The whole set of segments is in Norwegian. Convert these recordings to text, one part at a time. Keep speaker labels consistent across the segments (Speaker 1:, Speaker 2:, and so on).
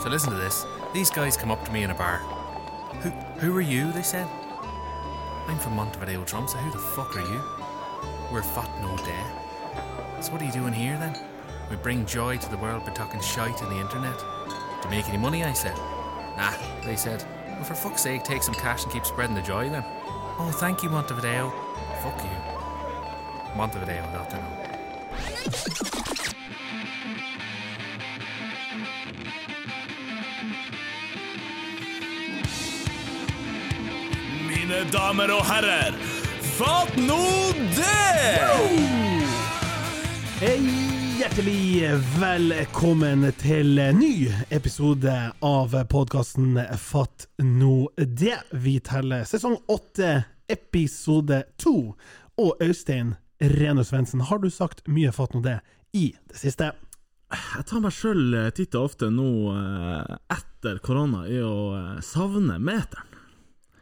Speaker 1: So listen to this. These guys come up to me in a bar. Who who are you? They said. I'm from Montevideo Trump, so who the fuck are you? We're fat no day. So what are you doing here then? We bring joy to the world by talking shite on the internet. Do you make any money? I said. Nah, they said. Well, for fuck's sake, take some cash and keep spreading the joy then. Oh, thank you, Montevideo. Fuck you. Montevideo, not to know.
Speaker 2: Mine damer og herrer, fatt nå det!
Speaker 3: Hei, hjertelig velkommen til ny episode av podkasten Fatt nå det. Vi teller sesong åtte, episode to. Og Øystein Renu Svendsen, har du sagt mye fatt nå det i det siste?
Speaker 4: Jeg tar meg sjøl titt og ofte nå eh, etter korona i å eh, savne meteren.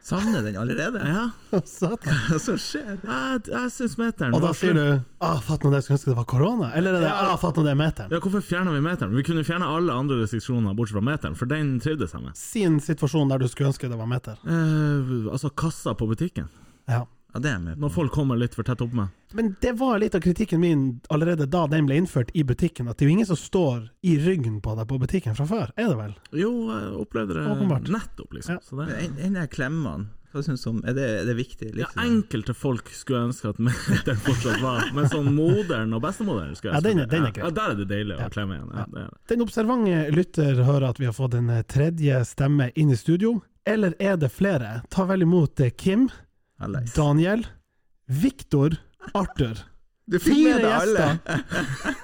Speaker 5: Savner den allerede?
Speaker 4: Ja,
Speaker 3: Satan.
Speaker 5: Hva som skjer?
Speaker 4: jeg, jeg syns meteren
Speaker 3: Og da
Speaker 4: var
Speaker 3: sier
Speaker 4: slem.
Speaker 3: du ah, 'fatt nå det, skulle ønske det var korona'? Eller er det ah, 'fatt nå det, meteren'?
Speaker 4: Ja, hvorfor fjerna vi meteren? Vi kunne fjerna alle andre restriksjoner bortsett fra meteren, for den trivdes jeg med.
Speaker 3: Si en situasjon der du skulle ønske det var meter.
Speaker 4: Eh, altså kassa på butikken.
Speaker 3: Ja.
Speaker 5: Ja, det er jeg med på.
Speaker 4: Når folk kommer litt for tett opp meg.
Speaker 3: Men det var litt av kritikken min allerede da den ble innført i butikken, at det er jo ingen som står i ryggen på deg på butikken fra før, er det vel?
Speaker 4: Jo, jeg opplevde det
Speaker 3: Åpenbart.
Speaker 4: nettopp, liksom.
Speaker 3: Ja.
Speaker 4: Så det,
Speaker 5: Den den der klemmene, hva syns du om Er det, er det viktig?
Speaker 4: ja,
Speaker 5: Liksom?
Speaker 4: enkelte folk skulle jeg ønske at meteren fortsatt var, men sånn moderen og bestemoderen skulle
Speaker 3: Ja,
Speaker 4: jeg
Speaker 3: den er-
Speaker 4: ønske at-
Speaker 3: den er grei.
Speaker 4: ja, Der er det deilig å klemme igjen. Ja, det er det.
Speaker 3: Den observante lytter hører at vi har fått en eh, tredje stemme inn i studio, eller er det flere? Ta vel imot eh, Kim,
Speaker 5: Alex.
Speaker 3: Daniel, Viktor, Arthur.
Speaker 5: Du fikk
Speaker 3: Fire
Speaker 5: med deg alle!
Speaker 3: gjester!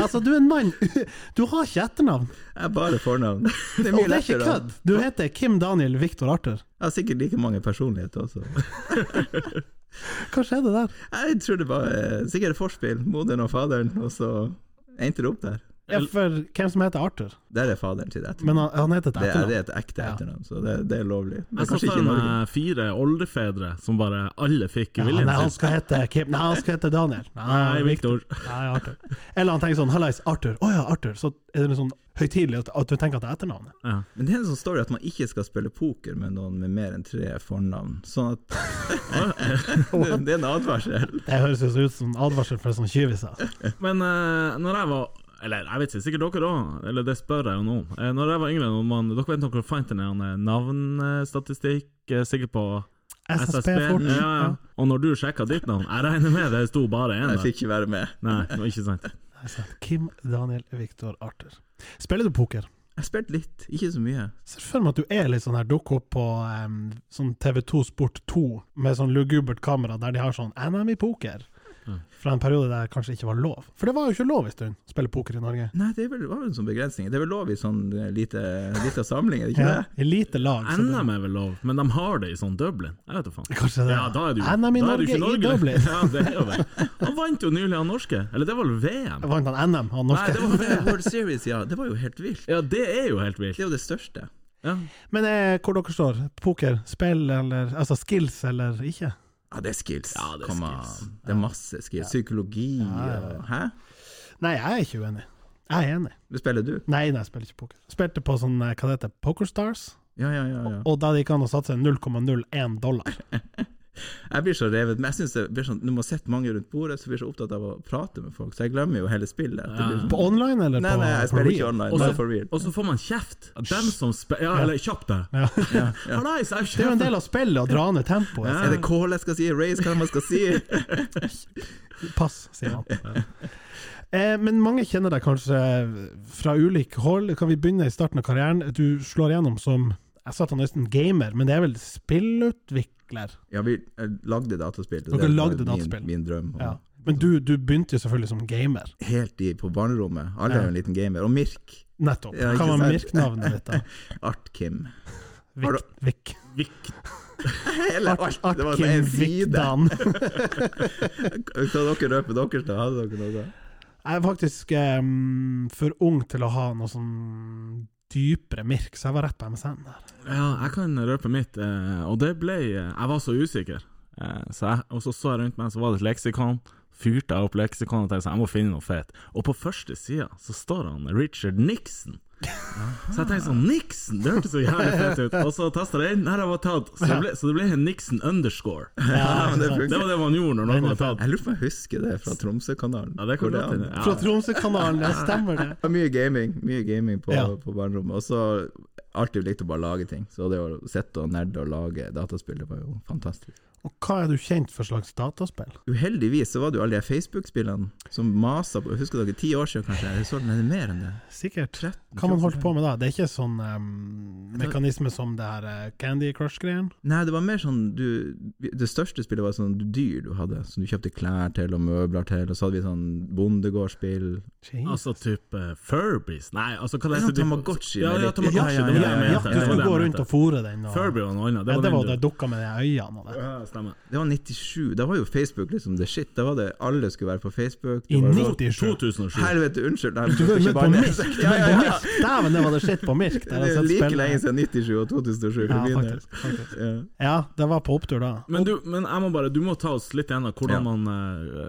Speaker 3: Altså, du er en mann. Du har ikke etternavn.
Speaker 5: Jeg er bare fornavn. Det er
Speaker 3: Og
Speaker 5: mye
Speaker 3: det er ikke
Speaker 5: lettere. da.
Speaker 3: kødd. Du heter Kim Daniel Viktor Arthur.
Speaker 5: Jeg har sikkert like mange personligheter også.
Speaker 3: Hva skjedde der?
Speaker 5: Jeg tror det var eh, sikkert forspill, moderen og faderen, og så endte det opp der.
Speaker 3: Ja, for hvem som heter Arthur?
Speaker 5: Der er faderen sitt etternavn.
Speaker 3: Men han, han heter et
Speaker 5: Det er,
Speaker 3: etternavn.
Speaker 5: det er et ekte
Speaker 3: Ja.
Speaker 5: etternavn, så det, det er lovlig. Men
Speaker 4: Jeg så
Speaker 5: kanskje ikke
Speaker 4: for
Speaker 5: i Norge.
Speaker 3: eh,
Speaker 4: meg eh, fire oldefedre som bare alle fikk
Speaker 3: Ja,
Speaker 4: viljen
Speaker 3: nei, han
Speaker 4: sin.
Speaker 3: skal hete Kim. Nei, han skal hete Daniel.
Speaker 4: Nei, Viktor.
Speaker 3: Nei, Arthur. Eller han tenker sånn 'Hallais, Arthur'. Å ja, Arthur. Så er det sånn høytidelig at, at du tenker at det er etternavnet.
Speaker 4: Ja.
Speaker 5: Men det er en sånn story at man ikke skal spille poker med noen med mer enn tre fornavn. Sånn at det, det er en advarsel.
Speaker 3: Det høres jo så ut som en advarsel fra sånne tjuviser.
Speaker 4: Men eh, når jeg var Eller jeg vet ikke, sikkert dere òg, eller det spør jeg jo nå. Eh, når jeg var yngre, når man, dere vet dere fant en eller annen navnstatistikk, eh, sikkert på SSB.
Speaker 3: SSB fort.
Speaker 4: Ja, ja. Og når du sjekka ditt navn, jeg regner med det sto bare én der.
Speaker 5: Jeg fikk ikke være med.
Speaker 4: Nei, det var ikke sant.
Speaker 3: Nei, sant. Kim, Daniel, Viktor, Arthur. Spiller du poker?
Speaker 5: Jeg spilte litt, ikke så mye.
Speaker 3: Ser for meg at du er litt sånn her dukke opp på em, sånn TV2 Sport 2 med sånn lugubert kamera der de har sånn NM i poker. Fra en periode der det kanskje ikke var lov. For det var jo ikke lov en stund å spille poker i Norge.
Speaker 5: Nei, det er vel, var vel en sånn begrensning. Det er vel lov i sånn eh, lite, lite samling, er det ikke
Speaker 3: Ja, I lite lag. så det-
Speaker 4: NM er vel lov, men de har det i sånn Dublin. Jeg vet da faen.
Speaker 3: Kanskje det.
Speaker 4: Ja, da er det jo,
Speaker 3: NM i
Speaker 4: da er det jo ikke
Speaker 3: Norge i
Speaker 4: Norge.
Speaker 3: Dublin.
Speaker 4: Ja, det er jo det. Han vant jo nylig, han norske. Eller det var vel VM?
Speaker 3: Vant han NM, han
Speaker 4: Nei,
Speaker 3: norske?
Speaker 4: det var
Speaker 5: det? World Series, ja. Det var jo helt vilt.
Speaker 4: Ja, det er jo helt vilt.
Speaker 5: Det er jo det største.
Speaker 4: Ja.
Speaker 3: Men eh, hvor dere står? Poker? Spill eller Altså skills eller ikke?
Speaker 5: Ja, det er skills.
Speaker 4: Ja, det er
Speaker 5: Come
Speaker 4: skills.
Speaker 5: on. Det er masse skills. Psykologi og Hæ?
Speaker 3: Nei, jeg er ikke uenig. Jeg er enig.
Speaker 5: Spiller du?
Speaker 3: Nei, nei, jeg spiller ikke poker. Spilte på sånn, eh, hva det heter, PokerStars,
Speaker 5: Ja, ja, ja. ja.
Speaker 3: og da det gikk an å satse 0,01 dollar.
Speaker 5: Jeg blir så revet men jeg synes det blir sånn, Når man sitter mange rundt bordet, så blir jeg så opptatt av å prate med folk, så jeg glemmer jo hele spillet. Det blir sånn,
Speaker 3: På online eller
Speaker 5: nei,
Speaker 3: på
Speaker 5: nei, jeg
Speaker 3: på
Speaker 5: spiller
Speaker 3: real?
Speaker 5: ikke online,
Speaker 4: Også-
Speaker 5: det er for real.
Speaker 4: Og så får man kjeft. Dem som spiller Ja, eller kjapp deg.
Speaker 3: Ja.
Speaker 4: Hallais, jeg
Speaker 3: Det er jo en
Speaker 4: kjefter.
Speaker 3: del av spillet å dra ned tempoet.
Speaker 4: Ja.
Speaker 5: Er det call jeg skal si? Raise hva man skal si?
Speaker 3: Pass, sier han. Eh, men mange kjenner deg kanskje fra ulike hold. Kan vi begynne i starten av karrieren? Du slår gjennom som jeg sa at han nesten gamer, men det er vel spillutvikler?
Speaker 5: Ja, vi eh, lagde dataspill.
Speaker 3: Dere
Speaker 5: var
Speaker 3: lagde
Speaker 5: min,
Speaker 3: dataspill.
Speaker 5: Min drøm. og
Speaker 3: Ja. Men du, du begynte jo selvfølgelig som gamer.
Speaker 5: Helt i, på barnerommet. Alle er jo en liten gamer. Og Mirk.
Speaker 3: Nettopp.
Speaker 5: Ja,
Speaker 3: Hva
Speaker 5: ikke
Speaker 3: var
Speaker 5: sant?
Speaker 3: merkenavnet ditt, da?
Speaker 5: Art-Kim. Har
Speaker 3: Vik, Vik.
Speaker 4: Vikt.
Speaker 5: Hele
Speaker 3: Art,
Speaker 5: alt. Det var
Speaker 3: Artkim
Speaker 5: sånn en side.
Speaker 3: Vikdan.
Speaker 5: Hva dere røper deres, da? Hadde dere noe da?
Speaker 3: Jeg er faktisk eh, for ung til å ha noe sånn dypere mirk, så jeg var rett på MSN der.
Speaker 4: Ja, jeg kan røpe mitt, eh, og det ble Jeg var så usikker, eh, så jeg, og så så jeg rundt meg, så var det et leksikon. fyrte jeg opp leksikonet og tenkte sånn, jeg må finne noe fett. Og på første sida så står han Richard Nixon. Så jeg tenkte sånn Nixon! Det hørtes så jævlig fett ut. Og så tasta jeg inn, der jeg var tatt. Så det ble, så det ble en Nixon underscore.
Speaker 5: Ja, men det
Speaker 4: Det
Speaker 5: funker.
Speaker 4: var det man gjorde når noen var tatt.
Speaker 5: Jeg lurer på om jeg husker det fra Tromsø-kanalen.
Speaker 4: Ja, det
Speaker 5: Hvor
Speaker 4: kan godt
Speaker 5: han-
Speaker 4: hende.
Speaker 3: Fra
Speaker 4: Ja.
Speaker 3: Tromsø-kanalen, ja, stemmer det?
Speaker 5: Det var mye gaming mye gaming på,
Speaker 3: Ja.
Speaker 5: på barnerommet. Og så alltid likt å bare lage ting. Så det å sitte og nerde og lage dataspill, det var jo fantastisk.
Speaker 3: Og hva er du kjent for slags dataspill?
Speaker 5: Uheldigvis så var det jo alle de Facebook-spillene som masa på Husker dere ti år siden, kanskje? Jeg så den er det mer enn det.
Speaker 3: Sikkert. Hva man holdt på med da? Det er ikke sånn em, mekanisme som det her eh, Candy Crush-greien?
Speaker 5: Nei, det var mer sånn du, Det største spillet var sånn dyr du hadde, som du kjøpte klær til og møbler til, og så hadde vi sånn bondegårdsspill.
Speaker 4: Altså type Furbies Nei, altså hva
Speaker 5: Mm. Det
Speaker 4: det
Speaker 5: er sånn Tamagotchi,
Speaker 4: Ja,
Speaker 5: det er
Speaker 4: ja,
Speaker 5: litt-
Speaker 4: Tamagotchi.
Speaker 5: Ja, ja,
Speaker 4: det var det
Speaker 5: ja,
Speaker 4: jeg
Speaker 5: ja.
Speaker 3: du
Speaker 4: mente. Det var det
Speaker 3: skulle
Speaker 4: jeg
Speaker 3: gå rundt
Speaker 4: mente.
Speaker 3: og fôre den. Og,
Speaker 4: Furby var noe annet.
Speaker 3: ja, det var
Speaker 4: den
Speaker 3: det
Speaker 4: du-
Speaker 3: dukka med de øynene og det.
Speaker 4: Ja, stemmer.
Speaker 5: Det var 97. Da var jo Facebook liksom the shit. Da var det alle skulle være på Facebook. Det
Speaker 3: I
Speaker 5: var-
Speaker 3: 97.
Speaker 4: 2007.
Speaker 5: Helvete, unnskyld. Nei,
Speaker 3: Du var jo
Speaker 5: ikke
Speaker 3: med på
Speaker 5: barne-
Speaker 3: Mirk! Du var
Speaker 5: Ja,
Speaker 3: på
Speaker 5: ja, ja.
Speaker 3: Mirk. Dæven, det var det shit på Mirk! Der
Speaker 5: Det
Speaker 3: jeg
Speaker 5: er
Speaker 3: satt
Speaker 5: like
Speaker 3: spill.
Speaker 5: lenge siden 97 og 2007. for
Speaker 3: Ja,
Speaker 5: min del.
Speaker 3: faktisk, faktisk.
Speaker 5: Ja.
Speaker 3: Ja, det var på opptur da.
Speaker 4: Men du, men jeg må bare, du må ta oss litt gjennom hvordan
Speaker 5: Ja.
Speaker 4: man eh,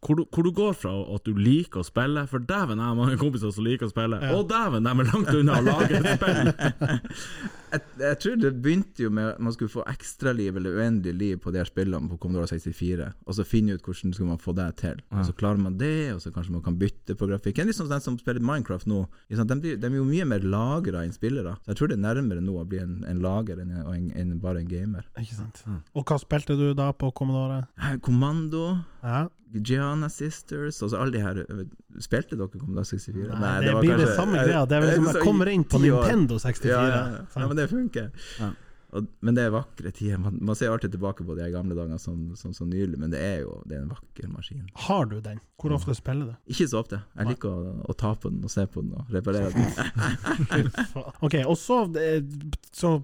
Speaker 4: hvor, du, hvor du går fra at du liker å spille, for dæven, jeg har mange kompiser som liker å spille,
Speaker 3: Ja.
Speaker 4: og dæven, de er langt unna å lage et spill!
Speaker 5: Jeg, jeg tror det begynte jo med at man skulle få ekstraliv eller uendelig liv på de her spillene på Commodore 64, og så finne ut hvordan skulle man få det til. Og Så klarer man det, og så kanskje man kan bytte på grafikken. Litt sånn som den som spiller Minecraft nå. ikke sant? De, blir- de er jo mye mer lagere enn spillere. Så jeg tror det er nærmere nå å bli en, en lager enn en, enn bare en gamer.
Speaker 3: Ikke sant. Og hva spilte du da på Commodore?
Speaker 5: Eh, Kommando
Speaker 3: Ja.
Speaker 5: Gianna Sisters altså alle de her Spilte dere Commodore 64?
Speaker 3: Nei, det, blir det samme greia. Det er vel som
Speaker 5: Så i-
Speaker 3: jeg kommer inn på
Speaker 5: ti år.
Speaker 3: Nintendo 64.
Speaker 5: Ja, ja, ja. ja,
Speaker 3: sant?
Speaker 5: men det funker.
Speaker 4: Ja.
Speaker 5: Og, men det er vakre tider. Man, man ser alltid tilbake på de her gamle dagene som, som, som nylig, men det er jo det er en vakker maskin.
Speaker 3: Har du den? Hvor ofte spiller du?
Speaker 5: Ikke så ofte. Jeg liker å, å ta på den og se på den og reparere den.
Speaker 3: Ok, og så, eh, så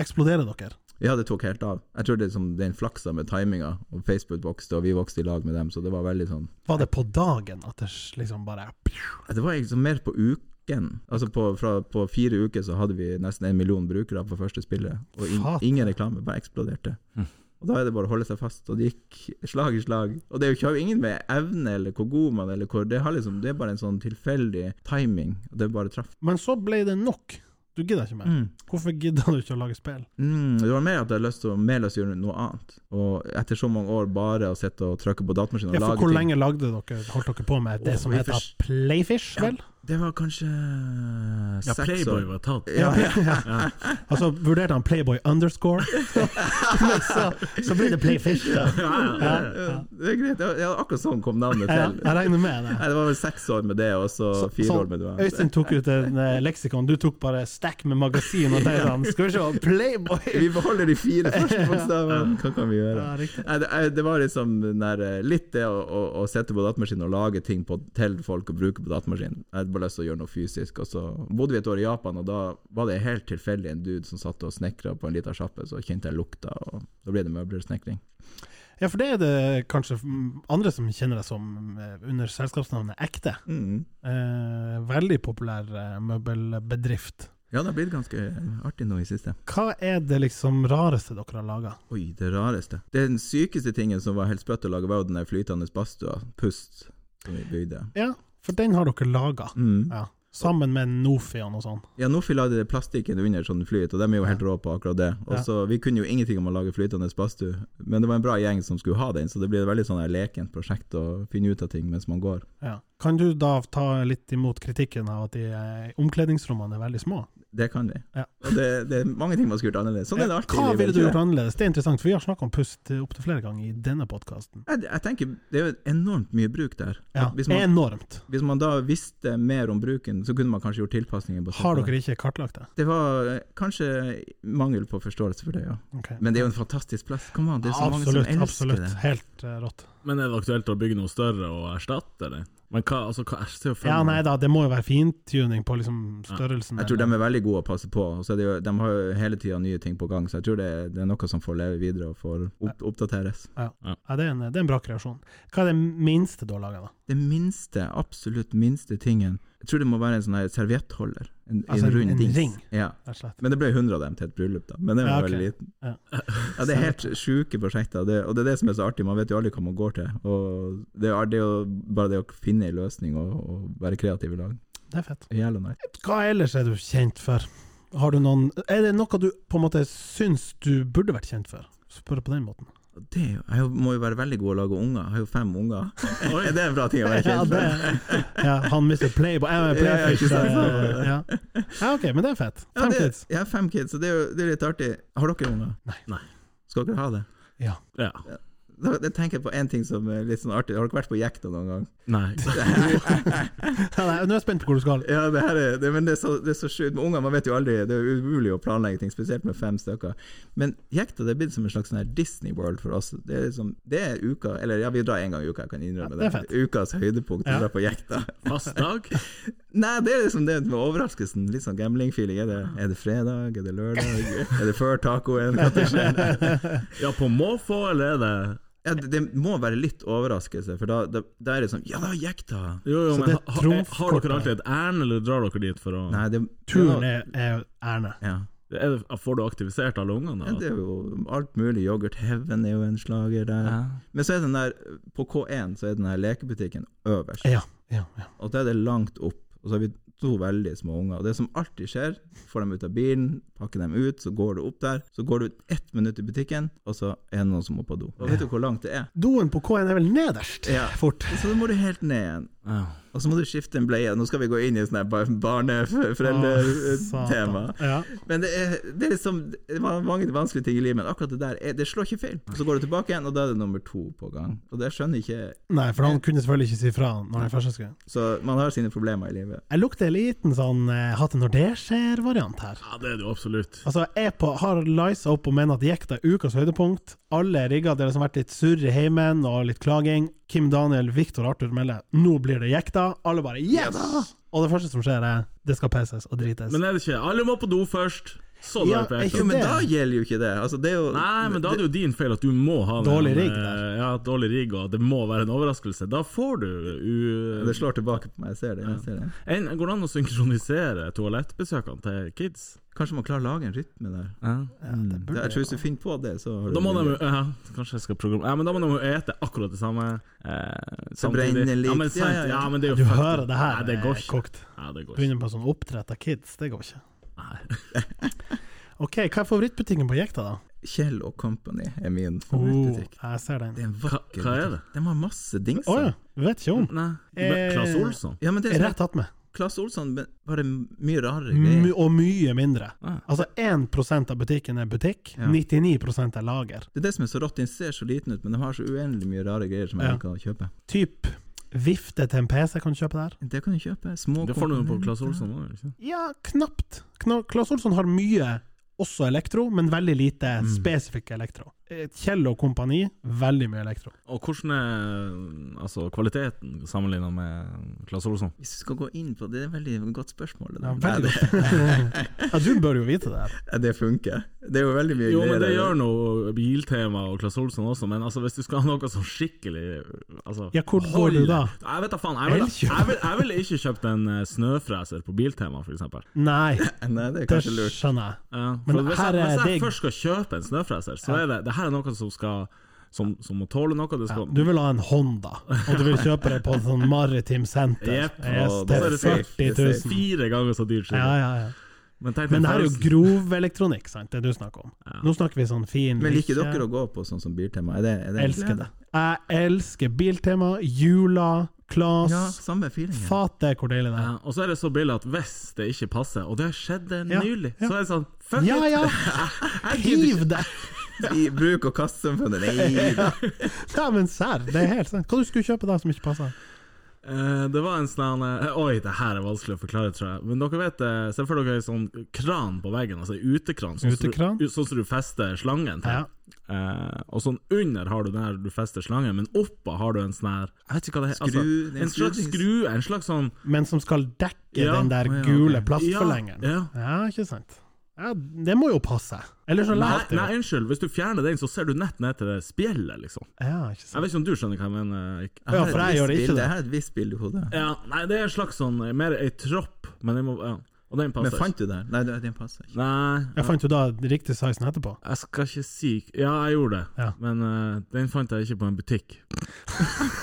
Speaker 3: eksploderer dere.
Speaker 5: Ja, det tok helt av. Jeg tror det er som den flaksa med timinga, og Facebook vokste, og vi vokste i lag med dem, så det var veldig sånn
Speaker 3: Var det på dagen at det s- liksom bare
Speaker 5: Det var liksom mer på uken. Altså på, fra, på fire uker så hadde vi nesten en million brukere på første spillet, og in,
Speaker 3: Faen.
Speaker 5: ingen reklame, bare eksploderte.
Speaker 4: Mm.
Speaker 5: Og Da er det bare å holde seg fast, og det gikk slag i slag. Og Det er jo ikke har jo ingen med evne eller hvor god man eller hvor, det, har liksom, det er bare en sånn tilfeldig timing, og det bare traff.
Speaker 3: Men så ble det nok. Du gidder ikke mer.
Speaker 5: Mm.
Speaker 3: Hvorfor gidder du ikke å lage spill?
Speaker 5: Mm, det var mer at jeg hadde lyst til å, mer lyst til å gjøre noe annet. Og etter så mange år bare å sitte og trykke på datamaskinen og
Speaker 3: Ja, for
Speaker 5: lage
Speaker 3: hvor
Speaker 5: ting
Speaker 3: lenge lagde dere, holdt dere på med det
Speaker 5: Åh,
Speaker 3: som heter
Speaker 5: Playfish.
Speaker 3: Playfish, vel?
Speaker 5: Det var kanskje
Speaker 4: Ja,
Speaker 5: seks
Speaker 4: Playboy
Speaker 5: år.
Speaker 4: var tatt.
Speaker 5: Ja, ja.
Speaker 3: Altså, vurderte han Playboy underscore, men så, så ble det Playfish. Da. Ja, ja.
Speaker 5: Det er greit. Ja, akkurat sånn kom navnet
Speaker 3: Ja,
Speaker 5: til.
Speaker 3: jeg regner med det.
Speaker 5: Nei, det var vel seks år med det, og så
Speaker 3: Så-
Speaker 5: fire
Speaker 3: sånn,
Speaker 5: år med det.
Speaker 3: Øystein tok ut en eh, leksikon, du tok bare stack med magasin og tenkte han Skal vi se, Playboy!
Speaker 5: Vi beholder de fire første bokstavene, hva kan vi gjøre?
Speaker 3: Ja, riktig.
Speaker 5: Nei, det, jeg- det var liksom den der, eh, litt det å, å, å sette på datamaskinen og lage ting på, til folk og bruke på datamaskinen. Jeg hadde bare lyst til å gjøre noe fysisk. Og så bodde vi et år i Japan, og da var det helt tilfeldig en dude som satt og snekra på en liten sjappe, så kjente jeg lukta, og da ble det møblersnekring.
Speaker 3: Ja, for det er det kanskje mm, andre som kjenner deg som eh, under selskapsnavnet Ekte.
Speaker 5: Mm.
Speaker 3: Eh, veldig populær eh, møbelbedrift.
Speaker 5: Ja, det har blitt ganske eh, artig nå i siste.
Speaker 3: Hva er det liksom rareste dere har laga?
Speaker 5: Oi, det rareste. Den sykeste tingen som var helt sprøtt å lage, var jo den der flytende badstua, Pust, som vi bygde.
Speaker 3: Ja, for den har dere laga,
Speaker 5: Mm.
Speaker 3: ja. sammen med Nofi og noe sånt.
Speaker 5: Ja, Nofi lagde det plastikken under sånn flyet, og de er jo helt rå på akkurat det. Og
Speaker 3: Ja.
Speaker 5: så Vi kunne jo ingenting om å lage flytende badstue, men det var en bra gjeng som skulle ha den, så det blir et veldig sånn her lekent prosjekt å finne ut av ting mens man går.
Speaker 3: Ja. Kan du da ta litt imot kritikken av at de eh, omkledningsrommene er veldig små?
Speaker 5: Det kan vi.
Speaker 3: Ja.
Speaker 5: Og det, det er mange ting man skulle gjort annerledes. Sånn er det alltid.
Speaker 3: Eh,
Speaker 5: i
Speaker 3: Hva
Speaker 5: livet,
Speaker 3: ville du
Speaker 5: ikke det?
Speaker 3: gjort annerledes? Det er interessant, for vi har snakka om pust opptil flere ganger i denne podkasten.
Speaker 5: Jeg, jeg tenker Det er jo enormt mye bruk der.
Speaker 3: Ja,
Speaker 5: Hvis, man,
Speaker 3: enormt.
Speaker 5: hvis man da visste mer om bruken, så kunne man kanskje gjort tilpasninger. på sånn.
Speaker 3: Har dere ikke kartlagt det?
Speaker 5: Det var eh, kanskje mangel på forståelse for det, ja.
Speaker 3: Ok.
Speaker 5: Men det er jo en fantastisk plass. Kom an, det er så
Speaker 3: Absolutt,
Speaker 5: mange som elsker
Speaker 3: absolutt.
Speaker 5: det.
Speaker 3: Helt eh, rått.
Speaker 4: Men er det aktuelt å bygge noe større og erstatte det? Men hva, altså, hva er det
Speaker 3: Ja, nei da, det må jo være fintuning på liksom størrelsen.
Speaker 5: Jeg tror de er veldig gode å passe på. og Så er det jo, de har jo hele tida nye ting på gang, så jeg tror det, det er noe som får leve videre og får opp, oppdateres.
Speaker 3: ja, det, er en, det er en bra kreasjon. Hva er det minste du har laga, da?
Speaker 5: det minste, absolutt minste tingen Jeg tror det må være en sånn her serviettholder. En,
Speaker 3: Altså en-
Speaker 5: en rund
Speaker 3: en
Speaker 5: dings.
Speaker 3: ring?
Speaker 5: Ja.
Speaker 3: rett og slett.
Speaker 5: Men det ble 100 av dem til et bryllup, da. Men den var
Speaker 3: Ja, ok.
Speaker 5: veldig liten.
Speaker 3: Ja.
Speaker 5: Ja, det er helt sjuke prosjekter, det, og det er det som er så artig. Man vet jo aldri hva man går til. Og det er det å, bare det å finne en løsning og, og være kreativ i lag.
Speaker 3: Det er fett.
Speaker 5: Jævla nice.
Speaker 3: Hva ellers er du kjent for? Har du noen Er det noe du på en måte syns du burde vært kjent for? Spør på den måten.
Speaker 5: Og Det, er jo- jeg må jo være veldig god å lage unger. Jeg har jo fem unger. Er det en bra ting å
Speaker 3: Ja,
Speaker 5: være kjent for?
Speaker 3: det, ja, han mister playboy. Jeg er
Speaker 5: Ja, ja,
Speaker 3: playfish.
Speaker 5: ikke sant?
Speaker 3: eh, Ja. ja, ok, men det er fett.
Speaker 5: Ja,
Speaker 3: Fem
Speaker 5: det-
Speaker 3: kids.
Speaker 5: Jeg har fem kids, så det er jo det er litt artig. Har dere unger?
Speaker 3: Nei.
Speaker 4: Nei.
Speaker 5: Skal dere ha det?
Speaker 3: Ja.
Speaker 4: Ja.
Speaker 5: Da, da tenker jeg på en ting som er litt sånn artig. Har dere vært på jekta noen gang?
Speaker 4: Nei.
Speaker 3: Ja, nei, Nå er jeg spent på hvor du skal.
Speaker 5: Ja, det her er, det, men det er så, det er så sjukt. Med unger, man vet jo aldri. Det er umulig å planlegge ting, spesielt med fem stykker. Men jekta det er blitt som en slags sånn her Disney World for oss. Det er, liksom, det er uka, eller ja, vi drar én gang i uka, jeg kan innrømme
Speaker 3: Ja, det er
Speaker 5: det. Ukas høydepunkt å
Speaker 3: Ja.
Speaker 5: dra på jekta.
Speaker 4: Fast dag?
Speaker 5: Nei, det er liksom det med overraskelsen. Litt sånn gambling-feeling. Er, det- er det fredag? Er det lørdag? Er det før tacoen? Hva det skjer?
Speaker 4: Ja, på måfå, eller er det
Speaker 5: Ja, det, det må være litt overraskelse, for da, da, da er det sånn Ja, da jekta!
Speaker 4: Jo, jo,
Speaker 3: Så
Speaker 4: men
Speaker 3: det
Speaker 4: ha, ha,
Speaker 3: trumfkortet.
Speaker 4: har dere alltid et ærend, eller drar dere dit for å
Speaker 5: Nei, det
Speaker 3: Turen er, er Erne.
Speaker 5: ja.
Speaker 4: er det, Får du aktivisert alle ungene?
Speaker 5: ja,
Speaker 4: da?
Speaker 5: det er jo alt mulig. Yoghurt Heaven er jo en slager der. Men så er den der På K1 så er den her lekebutikken øverst,
Speaker 3: Ja, ja, ja.
Speaker 5: og da er det langt opp. Og så har vi to veldig små unger. Og det som alltid skjer, får dem ut av bilen, pakker dem ut, så går du opp der. Så går du ett minutt i butikken, og så er det noen som må på do. Og vet du hvor langt det er?
Speaker 3: Doen på K1 er vel nederst?
Speaker 5: Ja.
Speaker 3: Fort.
Speaker 5: Så da må du helt ned igjen.
Speaker 4: Ja.
Speaker 5: Og så må du skifte en bleie. Nå skal vi gå inn i sånn eh, barneforeldretema.
Speaker 3: Satan. Ja.
Speaker 5: Men det er, det er liksom det var mange vanskelige ting i livet, men akkurat det der er, det slår ikke feil. Så går du tilbake igjen, og da er det nummer to på gang. Og det skjønner jeg ikke
Speaker 3: Nei, for
Speaker 4: Eh,
Speaker 3: han kunne selvfølgelig ikke si fra når han først skulle.
Speaker 5: Så man har sine problemer i livet.
Speaker 3: Jeg lukter en liten sånn eh, hatt det når det skjer-variant her.
Speaker 4: ja, det er det jo absolutt.
Speaker 3: Altså, jeg på, har lisa opp og mener at jekta er ukas høydepunkt. Alle rigger dere som har vært litt surr i heimen og litt klaging. Kim Daniel, Viktor og Arthur melder 'nå blir det jekta'. Alle bare 'yes!' Og det første som skjer, er 'det skal pisses og drites'.
Speaker 4: Men er det ikke Alle må på do først! Sånn Så
Speaker 3: Ja,
Speaker 4: drar
Speaker 3: jeg
Speaker 4: vi på jekta.
Speaker 5: Jo, men
Speaker 3: Det-
Speaker 5: da gjelder jo ikke det. Altså, det er jo
Speaker 4: Nei, men da er det jo din feil at du må ha den,
Speaker 3: Dårlig rigg
Speaker 4: eh,
Speaker 3: der.
Speaker 4: Ja, dårlig rigg, og det må være en overraskelse. Da får du eh, u...
Speaker 5: Det slår tilbake på meg, jeg ser det. Jeg ser det.
Speaker 4: en, Går det an å synkronisere toalettbesøkene til kids?
Speaker 5: Kanskje man klarer å lage en rytme der.
Speaker 3: ja, det
Speaker 5: Det,
Speaker 3: burde
Speaker 5: jeg tror Hvis du finner på det, så har du
Speaker 4: Da må de
Speaker 5: det.
Speaker 4: jo ja, Kanskje jeg skal programme Ja, men da må de jo ete akkurat det samme. Eh, samtidig.
Speaker 5: brenner litt.
Speaker 4: Ja, men, sant,
Speaker 5: Ja, ja,
Speaker 4: ja,
Speaker 5: ja.
Speaker 4: men det er jo
Speaker 3: Du
Speaker 4: fucked.
Speaker 3: hører det her
Speaker 4: Nei, det
Speaker 3: eh,
Speaker 4: går ikke.
Speaker 3: kokt.
Speaker 4: Nei, det går ikke.
Speaker 3: Begynner på sånn oppdrett av kids, det går ikke.
Speaker 4: Nei.
Speaker 3: Ok, hva er favorittbutikken på jekta, da?
Speaker 5: Kjell og Company er min
Speaker 3: Oh,
Speaker 5: favorittbutikk.
Speaker 3: jeg ser
Speaker 5: Det
Speaker 3: den.
Speaker 5: er en
Speaker 4: Hva-
Speaker 5: vakker
Speaker 4: hva er
Speaker 5: butikk. De har masse dingser.
Speaker 3: Å ja, du vet ikke om?
Speaker 4: Nei.
Speaker 3: Eh,
Speaker 4: Klass Olsson?
Speaker 5: Ja, men det er sånn,
Speaker 3: Rett attmed.
Speaker 5: Klass Olsson, men bare mye rarere greier.
Speaker 3: My- Og mye mindre.
Speaker 4: Ja.
Speaker 3: Altså 1 av butikken er butikk,
Speaker 5: Ah. Ja.
Speaker 3: 99 er lager.
Speaker 5: Det er det som er så rått. Den ser så liten ut, men de har så uendelig mye rare greier som jeg
Speaker 3: Ja.
Speaker 5: liker å kjøpe.
Speaker 3: Typ vifte til en PC kan du kjøpe der.
Speaker 5: Det kan du kjøpe. Små
Speaker 4: Det får du jo på
Speaker 5: komponenter.
Speaker 4: Klass Olsson òg, ikke sant?
Speaker 3: Ja, knapt. Kna Claes Olsson har mye også elektro, men veldig lite
Speaker 5: Mm.
Speaker 3: spesifikk elektro. Eh, Kjell og kompani, veldig mye elektro.
Speaker 4: Og hvordan er altså, kvaliteten sammenlignet med Klass Olsson?
Speaker 5: Hvis du skal gå inn på det, det er et veldig godt spørsmål. Det,
Speaker 3: Ja,
Speaker 5: der.
Speaker 3: veldig
Speaker 5: Nei,
Speaker 3: godt. ja, du bør jo vite det. her.
Speaker 5: det, det funker. Det er jo veldig mye
Speaker 4: Jo, men
Speaker 5: greier
Speaker 4: det
Speaker 5: der.
Speaker 4: gjør noe biltema og Klass Olsson også, men altså, hvis du skal ha noe sånn skikkelig altså,
Speaker 3: Ja, hvor går du da?
Speaker 4: Jeg vet da faen. Jeg ville
Speaker 3: Elkjøp.
Speaker 4: jeg vil, jeg vil ikke kjøpt en eh, snøfreser på Biltema, for eksempel.
Speaker 3: Nei,
Speaker 5: Nei, det er
Speaker 3: det
Speaker 5: kanskje lurt.
Speaker 3: skjønner jeg.
Speaker 4: Ja, for
Speaker 3: Men
Speaker 4: hvis,
Speaker 3: her
Speaker 4: jeg,
Speaker 3: er
Speaker 4: hvis jeg
Speaker 3: det-
Speaker 4: først skal kjøpe en snøfreser, så er det det her er noe som skal Som, som må tåle noe. Det skal
Speaker 3: Du vil ha en Honda, og du vil kjøpe det på et sånn maritim senter.
Speaker 4: Jepp.
Speaker 3: Yes,
Speaker 5: Å,
Speaker 3: det
Speaker 5: da er
Speaker 3: er
Speaker 5: det safe. Det
Speaker 3: 40
Speaker 5: er
Speaker 3: 000.
Speaker 4: Fire ganger så dyrt. sikkert.
Speaker 3: Ja, ja, ja.
Speaker 4: Men, tenk deg
Speaker 3: Men det her er jo
Speaker 4: følelsen.
Speaker 3: grov elektronikk, sant, det du snakker om.
Speaker 4: Ja.
Speaker 3: Nå snakker vi sånn fin
Speaker 5: Men liker dere å gå på sånn som Biltema? Er det, er det en
Speaker 3: Elsker
Speaker 5: glede?
Speaker 3: det. Jeg elsker biltema, jula, Klas.
Speaker 5: Ja, samme feelingen.
Speaker 3: Fate hvor deilig det
Speaker 4: ja,
Speaker 3: er.
Speaker 4: Og så er det så billig at hvis det ikke passer, og det skjedde
Speaker 3: Ja,
Speaker 4: nylig,
Speaker 3: ja.
Speaker 4: så er det sånn Fuck
Speaker 3: Ja,
Speaker 4: it!
Speaker 3: ja!
Speaker 4: Jeg gidder
Speaker 3: Hiv det!
Speaker 5: I bruk- og kastsamfunnet. Nei, da.
Speaker 3: Ja, men serr, det er helt sant. Hva du skulle kjøpe da som ikke passer?
Speaker 4: Eh, det var en sånn eh, Oi, det her er vanskelig å forklare, tror jeg. Men dere vet eh, Se for dere en sånn kran på veggen, altså en utekran, sånn som
Speaker 3: Utekran?
Speaker 4: du- sånn som du fester slangen til.
Speaker 3: Ja.
Speaker 4: Eh, og sånn under har du den her du fester slangen, men oppå har du en sånn her Jeg vet ikke hva det heter.
Speaker 5: Skru, det er en
Speaker 4: en slags
Speaker 5: skrudings-
Speaker 4: skrue, en slags sånn
Speaker 3: Men som skal dekke
Speaker 4: Ja.
Speaker 3: den der
Speaker 5: Å, ja,
Speaker 3: gule
Speaker 5: ok.
Speaker 3: plastforlengeren.
Speaker 4: Ja, ja.
Speaker 3: Ja, ikke sant. Ja, det må jo passe. Eller så
Speaker 4: Nei,
Speaker 3: lavt.
Speaker 4: nei, unnskyld. Hvis du fjerner den, så ser du nett ned til det spjeldet, liksom.
Speaker 3: Ja, ikke
Speaker 4: Jeg
Speaker 3: sant.
Speaker 4: vet ikke om du skjønner hva jeg mener. Ikke?
Speaker 3: Ja, for jeg gjør det ikke
Speaker 5: bilde,
Speaker 3: det.
Speaker 5: jeg har et visst bilde i hodet.
Speaker 4: Ja, nei, det er en slags sånn Mer ei tropp, men jeg må ja. Og den
Speaker 5: Men
Speaker 4: passer.
Speaker 5: fant du den? Nei, den den passer ikke.
Speaker 4: Nei,
Speaker 3: Jeg fant jo da riktig sizen etterpå.
Speaker 4: jeg skal ikke si Ja, jeg gjorde det,
Speaker 3: Ja.
Speaker 4: men eh, den fant jeg ikke på en butikk.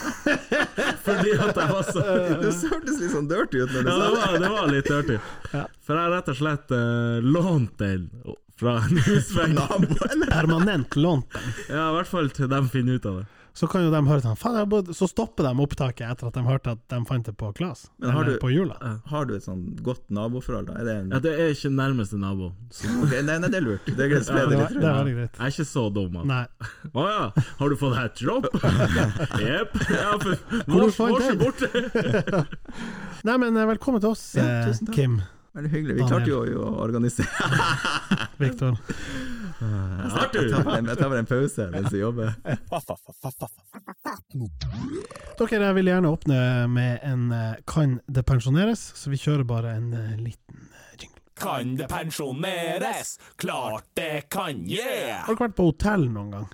Speaker 4: Fordi at jeg var så
Speaker 5: Det hørtes litt sånn dirty ut når du
Speaker 4: Ja,
Speaker 5: sa
Speaker 4: det var, det var litt dirty. For jeg har rett og slett eh, lånt den fra en husvenn.
Speaker 5: naboen.
Speaker 3: Permanent lånt den.
Speaker 4: Ja, i hvert fall til de finner ut av det.
Speaker 3: Så kan jo de høre sånn Faen, jeg burde-" så stopper de opptaket etter at de hørte at de fant det på Klas.
Speaker 5: Men har
Speaker 3: Eller
Speaker 5: du-
Speaker 3: på jula.
Speaker 5: Har du et sånn godt naboforhold, da? Er det en
Speaker 4: Ja, det er ikke nærmeste nabo. Så
Speaker 5: Ok, Nei, nei, det er lurt. Det er greit.
Speaker 3: Det
Speaker 5: så ble
Speaker 3: var-
Speaker 5: det litt
Speaker 3: det er veldig greit.
Speaker 4: jeg er ikke så dum. altså.
Speaker 3: Nei.
Speaker 4: Å ja, har du fått deg et jobb? Jepp. Ja, for
Speaker 3: Hvor
Speaker 4: mors
Speaker 3: fant
Speaker 4: mors er
Speaker 3: den?
Speaker 4: borte.
Speaker 3: Nei, men eh, velkommen til oss,
Speaker 5: Ja,
Speaker 3: eh,
Speaker 5: tusen takk.
Speaker 3: Kim.
Speaker 5: Veldig hyggelig. Vi klarte jo å organisere
Speaker 3: Viktor.
Speaker 4: Arthur!
Speaker 5: Jeg tar bare en pause mens vi jobber.
Speaker 3: Dere, jeg vil gjerne åpne med en eh, Kan det pensjoneres? Så vi kjører bare en eh, liten eh, jingle.
Speaker 2: Kan det pensjoneres? Klart det kan, yeah!
Speaker 3: Har dere vært på hotell noen gang?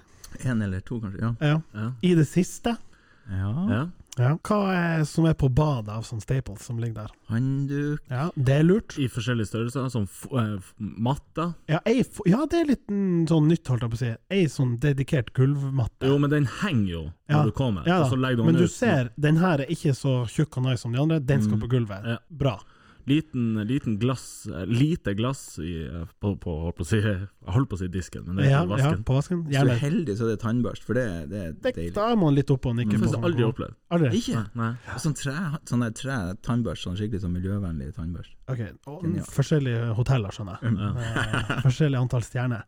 Speaker 5: En eller to, kanskje. Ja.
Speaker 3: Ja.
Speaker 4: Ja.
Speaker 3: I det siste?
Speaker 5: ja.
Speaker 4: Ja.
Speaker 3: Ja. Hva er, som er på badet av sånn staples som ligger der?
Speaker 5: Handduk
Speaker 3: Ja, det er lurt.
Speaker 4: I forskjellige størrelser, som f eh, f- matta.
Speaker 3: Ja, ei, f- ja det er litt mm, sånn nytt, holdt jeg på å si. Ei sånn dedikert gulvmatte.
Speaker 4: Jo, men den henger jo når
Speaker 3: Ja.
Speaker 4: du kommer,
Speaker 3: Ja
Speaker 4: og så
Speaker 3: da,
Speaker 4: legger du den
Speaker 3: men du
Speaker 4: ut. Mm.
Speaker 3: ser, den her er ikke så tjukk og nice som de andre. Den skal på gulvet.
Speaker 4: Ja.
Speaker 3: Bra.
Speaker 4: Liten, liten glass, eh, lite glass i, eh, på, på, holdt på å si, jeg holdt på å si disken, men det er
Speaker 3: Ja,
Speaker 4: på
Speaker 3: ja,
Speaker 4: vasken.
Speaker 3: på vasken.
Speaker 5: Hvis du
Speaker 3: Gjerne.
Speaker 5: er heldig, så er det tannbørst, for det, det er
Speaker 3: Det,
Speaker 5: deilig.
Speaker 3: da er man litt oppe og nikker.
Speaker 4: Det
Speaker 3: på
Speaker 4: har jeg
Speaker 3: sånn.
Speaker 4: aldri opplevd.
Speaker 3: Aldri?
Speaker 5: Ikke?
Speaker 4: Nei.
Speaker 5: Sånn tre, sånn der tre tannbørst, sånn skikkelig sånn miljøvennlig tannbørst.
Speaker 3: Ok, og
Speaker 5: Genialt.
Speaker 3: Forskjellige hoteller, skjønner jeg. Eh, forskjellig antall stjerner.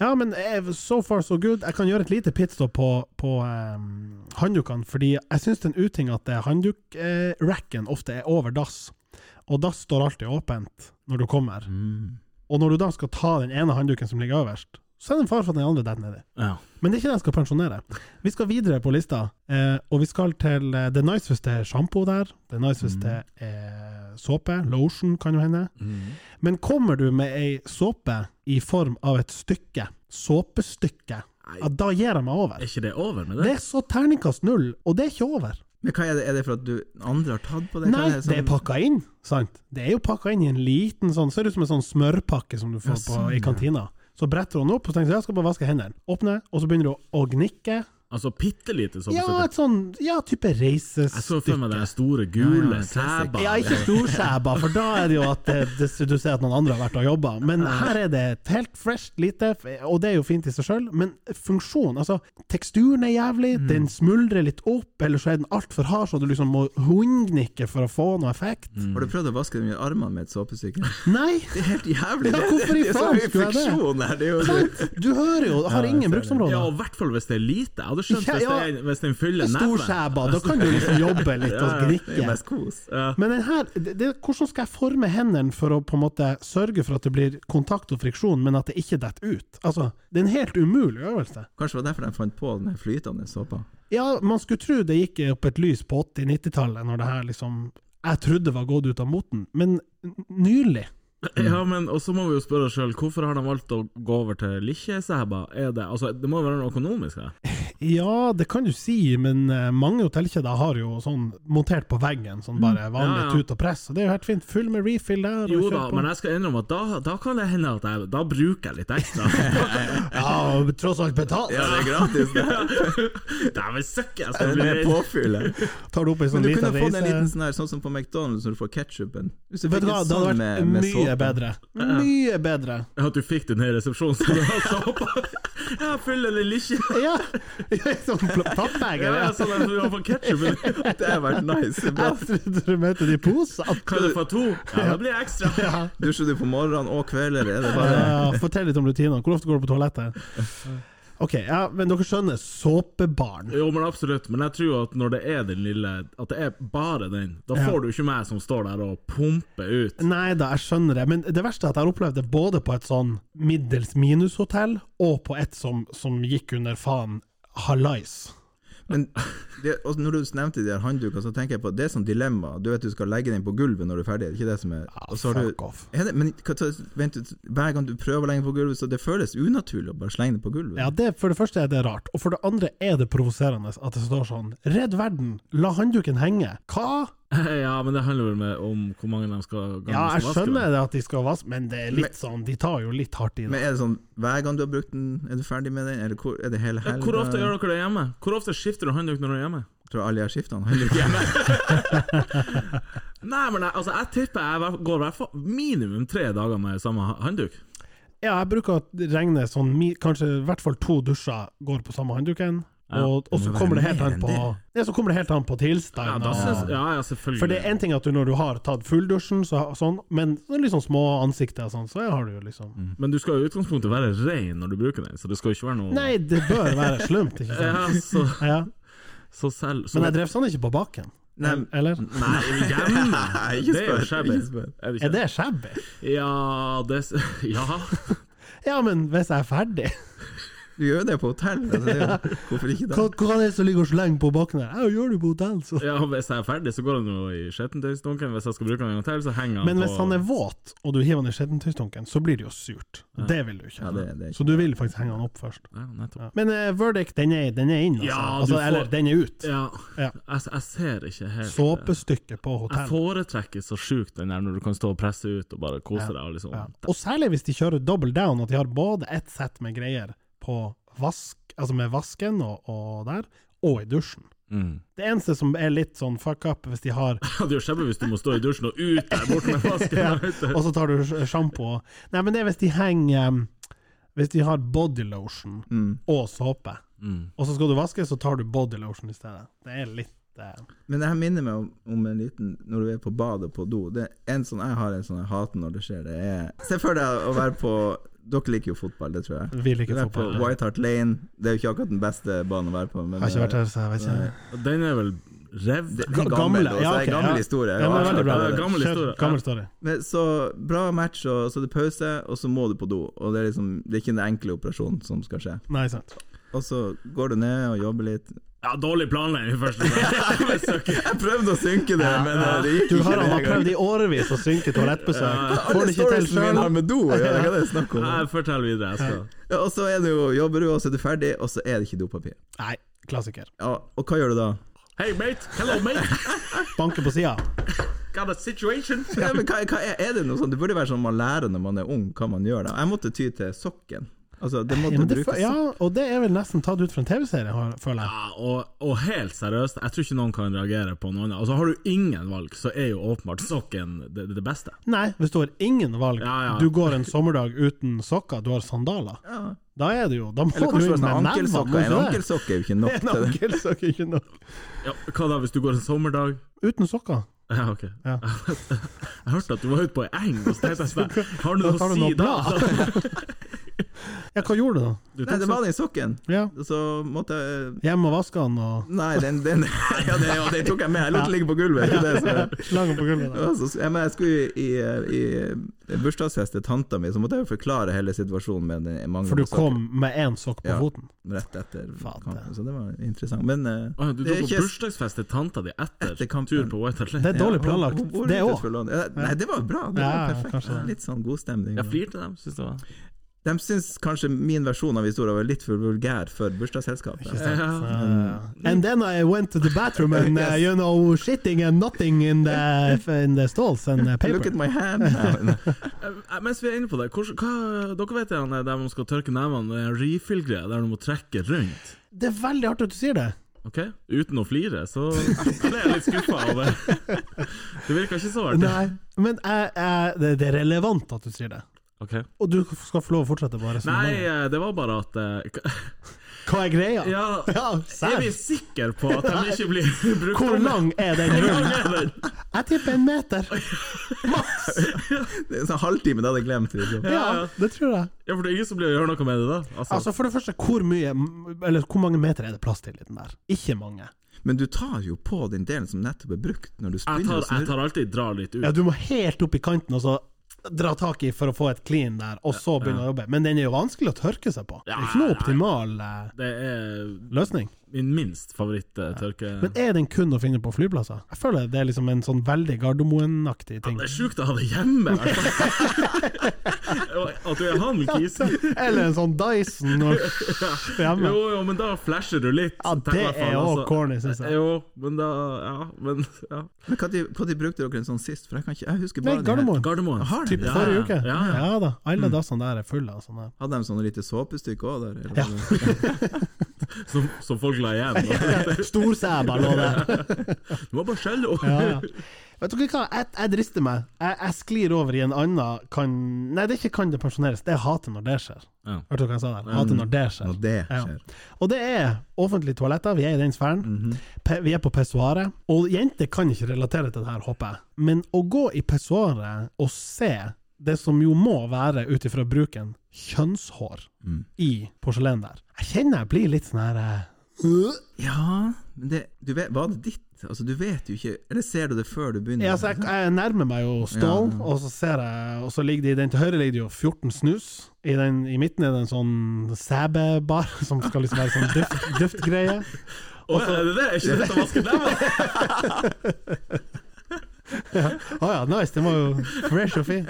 Speaker 3: Ja, men eh, so far so good. Jeg kan gjøre et lite pitstop på, på eh, handdukene, fordi jeg syns det er en uting at eh, handdukracken eh, ofte er over dass. Og dass står alltid åpent når du kommer. Og når du da skal ta den ene handduken som ligger øverst, så er det en fare for at den andre detter nedi.
Speaker 4: Ja.
Speaker 3: Men det er ikke det jeg skal pensjonere. Vi skal videre på lista, eh, og vi skal til eh, det niceste sjampo der. Det niceste eh, såpe. Lotion, kan jo hende. Men kommer du med ei såpe i form av et stykke, såpestykke, ja, da gir jeg meg
Speaker 4: Er
Speaker 3: over.
Speaker 4: ikke det over med det?
Speaker 3: Det er så terningkast null, og det er ikke over.
Speaker 5: Men hva er det, er det for at du andre har tatt på det? Hva
Speaker 3: Nei,
Speaker 5: sånn-
Speaker 3: det er pakka inn, sant? Det er jo pakka inn i en liten sånn, ser ut som en sånn smørpakke som du får på, i kantina. Så bretter hun opp og så tenker jeg, jeg skal bare vaske hendene. Åpner, og så begynner du å gnikke.
Speaker 4: Altså bitte lite sånn.
Speaker 3: Ja,
Speaker 4: stykke.
Speaker 3: et sånn ja, type
Speaker 4: jeg så for
Speaker 3: reisestykke.
Speaker 4: meg de store, gule
Speaker 5: Ja, ja, classic.
Speaker 4: sæba.
Speaker 3: Ja, ikke storsæba, for da er det jo at eh, det, det, du ser at noen andre har vært og jobba. Men her er det et helt fresht lite, og det er jo fint i seg sjøl, men funksjonen Altså, teksturen er jævlig,
Speaker 4: Mm.
Speaker 3: den smuldrer litt opp, eller så er den altfor hard, så du liksom må hundgnikke for å få noe effekt.
Speaker 5: Mm. Har du prøvd å vaske dem i armene med et såpestykke?
Speaker 4: Mm.
Speaker 3: Nei!
Speaker 5: Det er helt jævlig!
Speaker 3: Ja,
Speaker 5: Det-
Speaker 3: hvorfor i
Speaker 5: det, det er så
Speaker 3: faen
Speaker 5: mye
Speaker 3: skulle jeg det?
Speaker 5: friksjon her! Det er jo
Speaker 3: Sant? Du hører jo, det har ingen
Speaker 4: Ja,
Speaker 3: bruksområder.
Speaker 4: og i hvert fall hvis det er lite. Jeg hadde skjønt
Speaker 3: Ja,
Speaker 4: hvis,
Speaker 3: ja.
Speaker 4: det er, hvis den fyller neven.
Speaker 3: Storsæba, da kan du liksom jobbe litt og
Speaker 5: det er jo
Speaker 3: gnikke.
Speaker 5: mest kos.
Speaker 3: Men den her, det, det, hvordan skal jeg forme hendene for å på en måte sørge for at det blir kontakt og friksjon, men at det ikke detter ut? Altså, det er en helt umulig øvelse.
Speaker 5: Kanskje det var derfor de fant på den flytende såpa.
Speaker 3: Ja, man skulle tro det gikk opp et lys på 80-90-tallet, når det her liksom jeg trodde var gått ut av moten, men n- nylig
Speaker 4: Ja, men og så må vi jo spørre oss sjøl, hvorfor har de valgt å gå over til likkjesæba? Er det Altså, det må jo være noe økonomisk her?
Speaker 3: Ja, det kan du si, men eh, mange hotellkjeder har jo sånn montert på veggen, sånn
Speaker 5: Mm.
Speaker 3: bare vanlig
Speaker 4: Ja, ja.
Speaker 3: tut og press, og det er jo helt fint. Fyll med refill der. og
Speaker 4: Jo
Speaker 3: kjør
Speaker 4: da,
Speaker 3: på.
Speaker 4: men jeg skal innrømme at da, da kan det hende at jeg Da bruker jeg litt ekstra.
Speaker 3: Ja, tross alt betalt!
Speaker 5: Ja, det er gratis! Det
Speaker 4: Dæven søkke, jeg skal
Speaker 5: er
Speaker 4: bli
Speaker 5: det
Speaker 4: redd.
Speaker 5: påfyllet.
Speaker 3: Tar du opp ei
Speaker 5: Men
Speaker 3: sånn
Speaker 5: du
Speaker 3: lita
Speaker 5: kunne
Speaker 3: reise
Speaker 5: fått en liten sånn her, sånn som på McDonald's når du får ketsjupen. Hvis du
Speaker 3: Vet
Speaker 5: fikk
Speaker 3: du hva,
Speaker 5: en
Speaker 3: det hadde
Speaker 5: sånn
Speaker 3: vært
Speaker 5: med, med
Speaker 3: mye
Speaker 5: såpe.
Speaker 3: bedre. Mye bedre.
Speaker 4: At du fikk den her resepsjonen som du har såpa. Jeg fyller den likkje.
Speaker 3: Ja! Sånn pl- pappbeger.
Speaker 4: Ja,
Speaker 3: Ja.
Speaker 4: sånn at du har fått ketsjup.
Speaker 5: Det hadde vært nice. altså, Bra.
Speaker 3: Jeg trodde du mente de posene.
Speaker 4: Kan jeg få to? Ja, da blir det ekstra.
Speaker 3: Ja.
Speaker 5: Dusjer du på morgenen og kvelder? Er det bare
Speaker 3: Ja, fortell litt om rutinene. Hvor ofte går du på toalettet? Ok, ja, men dere skjønner. Såpebarn.
Speaker 4: Jo, men absolutt. Men jeg tror jo at når det er den lille At det er bare den, da
Speaker 3: Ja.
Speaker 4: får du ikke meg som står der og pumper ut.
Speaker 3: Nei da, jeg skjønner det, men det verste er at jeg har opplevd det både på et sånn middels minushotell, og på et som, som gikk under faen Halais.
Speaker 5: Men det, og når du nevnte de der handdukene, så tenker jeg på det er sånn dilemma. Du vet du skal legge den på gulvet når du er ferdig, det er ikke det som er og så har du-
Speaker 3: fuck off.
Speaker 5: Er det, men hva- så- vent, hver gang du prøver å legge den på gulvet, så det føles unaturlig å bare slenge den på gulvet.
Speaker 3: Ja, det, For det første er det rart, og for det andre er det provoserende at det står sånn 'Redd verden, la håndduken henge'. Hva?
Speaker 4: ja, men det handler vel med om hvor mange de skal ganger
Speaker 3: Ja,
Speaker 4: de
Speaker 3: jeg
Speaker 4: skal vaske,
Speaker 3: skjønner
Speaker 4: da.
Speaker 3: det at de skal vaske, men det er
Speaker 5: Men-
Speaker 3: litt sånn, de tar jo litt hardt i det.
Speaker 5: Men er det sånn hver gang du har brukt den, er du ferdig med den? Eller hvor, er det hele
Speaker 4: Ja,
Speaker 5: helga?
Speaker 4: hvor ofte gjør dere det hjemme? Hvor ofte skifter du håndduk når du er hjemme?
Speaker 5: Tror alle de her skiftene handler ikke
Speaker 4: Nei, men jeg, altså, jeg tipper jeg hver- går i hvert fall minimum tre dager med samme ha- håndduk.
Speaker 3: Ja, jeg bruker å regne sånn mi- kanskje i hvert fall to dusjer går på samme håndduken,
Speaker 4: Ja,
Speaker 3: og, og
Speaker 5: det
Speaker 3: så
Speaker 5: må
Speaker 3: kommer det
Speaker 5: være
Speaker 3: helt
Speaker 5: mer
Speaker 3: an
Speaker 5: enn
Speaker 3: på Ja, så kommer det helt an på
Speaker 4: Ja,
Speaker 3: tilstand.
Speaker 4: da
Speaker 3: og-
Speaker 4: synes, ja, ja selvfølgelig.
Speaker 3: for det er én ting at du når du har tatt fulldusjen, så, sånn, men så litt sånn små ansikter og sånn, så har du jo liksom
Speaker 5: Mhm.
Speaker 4: Men du skal jo i utgangspunktet være ren når du bruker den, så det skal jo ikke være noe Eh,
Speaker 3: Nei, det bør være slumt, ikke sant?
Speaker 4: Ja, så,
Speaker 3: Ja.
Speaker 4: så selv så,
Speaker 3: Men jeg drev sånn ikke på baken,
Speaker 5: Nei,
Speaker 3: eller?
Speaker 4: Nei, hjemme!
Speaker 5: Nei, ikke
Speaker 4: Det er jo
Speaker 5: spør,
Speaker 4: shabby.
Speaker 5: ikke spør.
Speaker 4: Er det
Speaker 3: Er
Speaker 4: ikke?
Speaker 3: det shabby?
Speaker 4: Ja, det s- Ja.
Speaker 3: Ja, men hvis jeg er ferdig
Speaker 5: Du gjør jo det på hotell. Altså, det er jo, hvorfor ikke det?
Speaker 3: Hva, hva er det som ligger og slenger på baken her? Jeg gjør det på hotell, så
Speaker 4: ja, hvis jeg er ferdig, så går han jo i skittentøysdunken. Hvis jeg skal bruke den en gang til, så henger han
Speaker 3: Men
Speaker 4: på
Speaker 3: hvis han er våt, og du hiver han i skjettentøysdunken, så blir det jo surt. Det vil du ikke.
Speaker 5: Ja, det- det er ikke-
Speaker 3: så du vil faktisk henge han opp først.
Speaker 4: Ja, nettopp.
Speaker 3: Ja. Men eh, verdict, den er, den er inn, altså.
Speaker 4: Ja, du
Speaker 3: altså
Speaker 4: får-
Speaker 3: Eller, den er ut.
Speaker 4: Ja.
Speaker 3: Ja.
Speaker 4: Jeg, jeg ser ikke helt eh,
Speaker 3: Såpestykke på
Speaker 4: Jeg
Speaker 3: hotell.
Speaker 4: foretrekker så sjukt den der når du kan stå og presse ut og bare kose deg. Og liksom.
Speaker 3: Ja. Og særlig hvis de kjører double down, at de har både ett sett med greier på vask, altså med vasken og, og der, og i dusjen.
Speaker 4: mm.
Speaker 3: Det eneste som er litt sånn fuck up, hvis de har
Speaker 4: Ja, det er jo kjempe hvis du må stå i dusjen og ut der bort med vasken.
Speaker 3: Og så tar du sj- sjampo og Nei, men det er hvis de henger em, Hvis de har body lotion
Speaker 5: Mm.
Speaker 3: og såpe,
Speaker 4: Mm.
Speaker 3: og så skal du vaske, så tar du body lotion i stedet. Det er litt eh,
Speaker 5: Men det her minner meg om, om en liten Når du er på badet på do. Det er en sånn Jeg har en sånn jeg hater når det skjer. Det er Se for deg å være på Dere liker jo fotball, det tror jeg.
Speaker 3: Vil
Speaker 5: Du
Speaker 3: ikke
Speaker 5: er
Speaker 3: få
Speaker 5: på
Speaker 3: på.
Speaker 5: White Hart Lane. Det er jo ikke akkurat den beste banen å være på. Men
Speaker 3: Har ikke vært her, så jeg vet
Speaker 5: Nei.
Speaker 3: ikke.
Speaker 4: Og Den er vel rev...
Speaker 5: Det er
Speaker 3: Ga-
Speaker 5: en
Speaker 3: gamle,
Speaker 5: gammel,
Speaker 3: ja,
Speaker 5: også, det er
Speaker 3: ok,
Speaker 5: en gammel
Speaker 3: ja.
Speaker 5: historie.
Speaker 3: Ja, men det er veldig bra.
Speaker 4: Ja, gammel
Speaker 3: Kjør,
Speaker 4: historie.
Speaker 3: Gammel story.
Speaker 5: Men så bra match, og så er det pause, og så må du på do. Og det er liksom Det er ikke den enkle operasjonen som skal skje.
Speaker 3: Nei, sant.
Speaker 5: Og så går du ned og jobber litt.
Speaker 4: Ja, dårlig planlegging i første gang.
Speaker 5: Jeg prøvde å synke det, men eh, det gikk
Speaker 3: Du
Speaker 5: ikke.
Speaker 3: har, han
Speaker 5: denne
Speaker 3: har
Speaker 5: gangen.
Speaker 3: prøvd i årevis å synke toalettbesøk. Får
Speaker 5: Alle
Speaker 3: det ikke til
Speaker 5: storiesen min
Speaker 3: sjøl.
Speaker 5: har med do å gjøre, hva er det snakk om?
Speaker 4: Jeg forteller videre. Jeg skal.
Speaker 5: Ja, og så er du, jobber du, og så er du ferdig, og så er det ikke dopapir.
Speaker 3: Nei, klassiker.
Speaker 5: Ja, og hva gjør du da?
Speaker 4: Hey, mate! Hello, mate!
Speaker 3: Banke på sida.
Speaker 4: Got a situation!
Speaker 5: Ja, men hva, hva er, er det noe sånt? Det burde være sånn man lærer når man er ung, hva man gjør da. Jeg måtte ty til sokken. Altså, det måtte
Speaker 3: Ja, men det
Speaker 5: brukes.
Speaker 3: fø- ja, og det er vel nesten tatt ut fra en TV-serie, har- føler jeg.
Speaker 4: Ja, og, og helt seriøst, jeg tror ikke noen kan reagere på noe annet. Altså, har du ingen valg, så er jo åpenbart sokken det, det beste.
Speaker 3: Nei, hvis du har ingen valg.
Speaker 4: Ja, ja.
Speaker 3: Du går en sommerdag uten sokker, du har sandaler.
Speaker 5: Ja.
Speaker 3: Da er det jo Da må
Speaker 5: Eller
Speaker 3: du
Speaker 5: kanskje det
Speaker 3: inn
Speaker 5: var
Speaker 3: med nevene,
Speaker 5: sånn
Speaker 3: må
Speaker 5: ankelsokker. En
Speaker 3: du ikke det?
Speaker 5: ankelsokk er jo ikke nok
Speaker 3: En
Speaker 5: til det.
Speaker 3: ankelsokk er ikke nok.
Speaker 4: Ja, hva da hvis du går en sommerdag?
Speaker 3: Uten sokker.
Speaker 4: Ja, ok.
Speaker 3: Ja.
Speaker 4: Jeg hørte at du var ute på ei eng, og så tenkte jeg sånn, har du
Speaker 3: Da
Speaker 4: noe
Speaker 3: tar du
Speaker 4: å si
Speaker 3: noe
Speaker 4: da?
Speaker 3: bra. Ja, hva gjorde du da?
Speaker 4: Du
Speaker 5: Nei,
Speaker 4: tok
Speaker 5: det
Speaker 4: sånn.
Speaker 5: var den sokken.
Speaker 3: Ja,
Speaker 5: Og Så måtte jeg
Speaker 3: Hjemme og vaske den og
Speaker 5: Nei, den, den, ja, den, ja, den tok jeg med. Jeg lot den ligge på gulvet. Ikke det, så.
Speaker 3: slang den på gulvet. da.
Speaker 5: Ja, så- ja, men jeg skulle jo i, i, i bursdagsfest til tanta mi, så måtte jeg jo forklare hele situasjonen med den manglende
Speaker 3: For du
Speaker 5: sokken.
Speaker 3: kom med én sokk på
Speaker 5: Ja.
Speaker 3: foten.
Speaker 5: rett etter
Speaker 3: Faen,
Speaker 5: kampen, så det var interessant. Men eh,
Speaker 4: Å, du
Speaker 5: det er
Speaker 4: tok
Speaker 5: ikke-
Speaker 4: på bursdagsfest til tanta di etter,
Speaker 5: Etter kampen.
Speaker 4: tur på White Hart
Speaker 3: Det
Speaker 4: Lane.
Speaker 3: er dårlig planlagt,
Speaker 5: Ja, hvor-
Speaker 3: det
Speaker 5: hvor-
Speaker 3: òg.
Speaker 5: Ja, Nei, det var bra. Det
Speaker 3: Ja,
Speaker 5: var perfekt.
Speaker 3: kanskje det.
Speaker 5: Litt sånn god stemning.
Speaker 4: Jeg flirte dem, synes det var.
Speaker 5: De syns kanskje min versjon av historien var litt for vulgær for bursdagsselskapet.
Speaker 3: Um, And then I went to the bathroom and uh, you know shitting and nothing in the, in the stalls and uh,
Speaker 5: Look
Speaker 3: paper.
Speaker 5: at my hand! Nei, nei.
Speaker 4: Eh, Mens vi er inne på det, hvordan- hva, dere vet det han er der man skal tørke nevene, det er en refill-greie der du må trekke rundt.
Speaker 3: Det er veldig artig at du sier det.
Speaker 4: Ok? Uten å flire, så ble jeg litt skuffa over. Det virka ikke så artig.
Speaker 3: Nei, men jeg- jeg- det det er relevant at du sier det.
Speaker 4: Ok.
Speaker 3: Og du skal få lov å fortsette bare som
Speaker 4: Nei,
Speaker 3: Nei,
Speaker 4: eh, det var bare at eh, k-
Speaker 3: Hva er greia?
Speaker 4: Ja,
Speaker 3: Ja,
Speaker 4: er vi
Speaker 3: serr.
Speaker 4: sikre på at de ikke blir brukt?
Speaker 3: Hvor
Speaker 4: om?
Speaker 3: lang er den
Speaker 4: Hvor
Speaker 3: rullen?
Speaker 4: lang er den?
Speaker 3: Jeg tipper en meter.
Speaker 5: Det er en sånn halvtime, da hadde jeg glemt det. liksom.
Speaker 3: Ja, det tror jeg.
Speaker 4: Ja, for det er ingen som blir å gjøre noe med det da. Altså,
Speaker 3: Altså, for det første, hvor mye Eller hvor mange meter er det plass til i den der? Ikke mange.
Speaker 5: Men du tar jo på den delen som nettopp er brukt, når du
Speaker 4: jeg,
Speaker 5: begynner å
Speaker 4: tar, jeg
Speaker 5: snurre.
Speaker 4: tar alltid drar litt ut.
Speaker 3: Ja, du må helt opp i kanten og så dra tak i for å få et clean der, og så begynne å jobbe. Men den er jo vanskelig å tørke seg på. Det er ikke noe optimal eh,
Speaker 4: Det er
Speaker 3: løsning.
Speaker 4: min minst eh, favoritt-tørke...
Speaker 3: Men er den kun å finne på flyplasser? Jeg føler det er liksom en sånn veldig Gardermoen-aktig ting.
Speaker 4: Det er sjukt å ha det hjemme! i hvert fall. At du har med kise.
Speaker 3: Eller en sånn Dyson og
Speaker 4: Jo,
Speaker 3: hjemme.
Speaker 4: jo, men da flasher du litt.
Speaker 3: Ja, det
Speaker 4: tenker jeg faen, altså.
Speaker 3: er også corny, synes jeg.
Speaker 4: Jo, men da Ja, men ja.
Speaker 5: Men Når de brukte dere en sånn sist? For jeg kan ikke Jeg husker
Speaker 3: Nei,
Speaker 5: bare de her-
Speaker 3: Gardermoen.
Speaker 4: Gardermoen.
Speaker 5: Har de
Speaker 3: Typ
Speaker 5: det?
Speaker 3: forrige uke.
Speaker 4: Ja,
Speaker 3: Ja,
Speaker 4: ja. Mm.
Speaker 3: da. Alle dassene der er fulle altså. av sånne. her.
Speaker 5: Hadde de sånne lite såpestykke òg der? eller?
Speaker 3: Ja.
Speaker 4: Som, som folk la igjen.
Speaker 3: Storsæber lå der.
Speaker 4: Du må bare skjelle opp!
Speaker 3: Ja, ja. Vet dere hva, jeg, jeg drister meg. Jeg, jeg sklir over i en annen kan Nei, det er ikke kan det pensjoneres, det er hatet når det skjer.
Speaker 4: Ja.
Speaker 3: Hørte du hva jeg sa der? Hatet når det skjer.
Speaker 5: Når det
Speaker 3: Ja.
Speaker 5: skjer.
Speaker 3: Og det er offentlige toaletter, vi er i den sfæren. Pe- Vi er på pissoaret. Og jenter kan ikke relatere til det her, håper jeg. Men å gå i pissoaret og se det som jo må være, ut ifra bruken, kjønnshår i porselen der Jeg kjenner jeg blir litt sånn her eh, øh.
Speaker 5: Ja, men det, du vet, var det ditt? Altså, du vet jo ikke Eller ser du det før du begynner?
Speaker 3: Ja, altså, jeg, jeg nærmer meg jo stål, og så ser jeg Og så ligger det i den til høyre ligger det jo 14 snus. I, den, I midten er det en sånn sæbebar som skal liksom være sånn duft, duftgreie.
Speaker 4: Og så er det det! Er ikke dette vasket dem? da?
Speaker 3: Å ja, nice. Den var jo fresh og fin.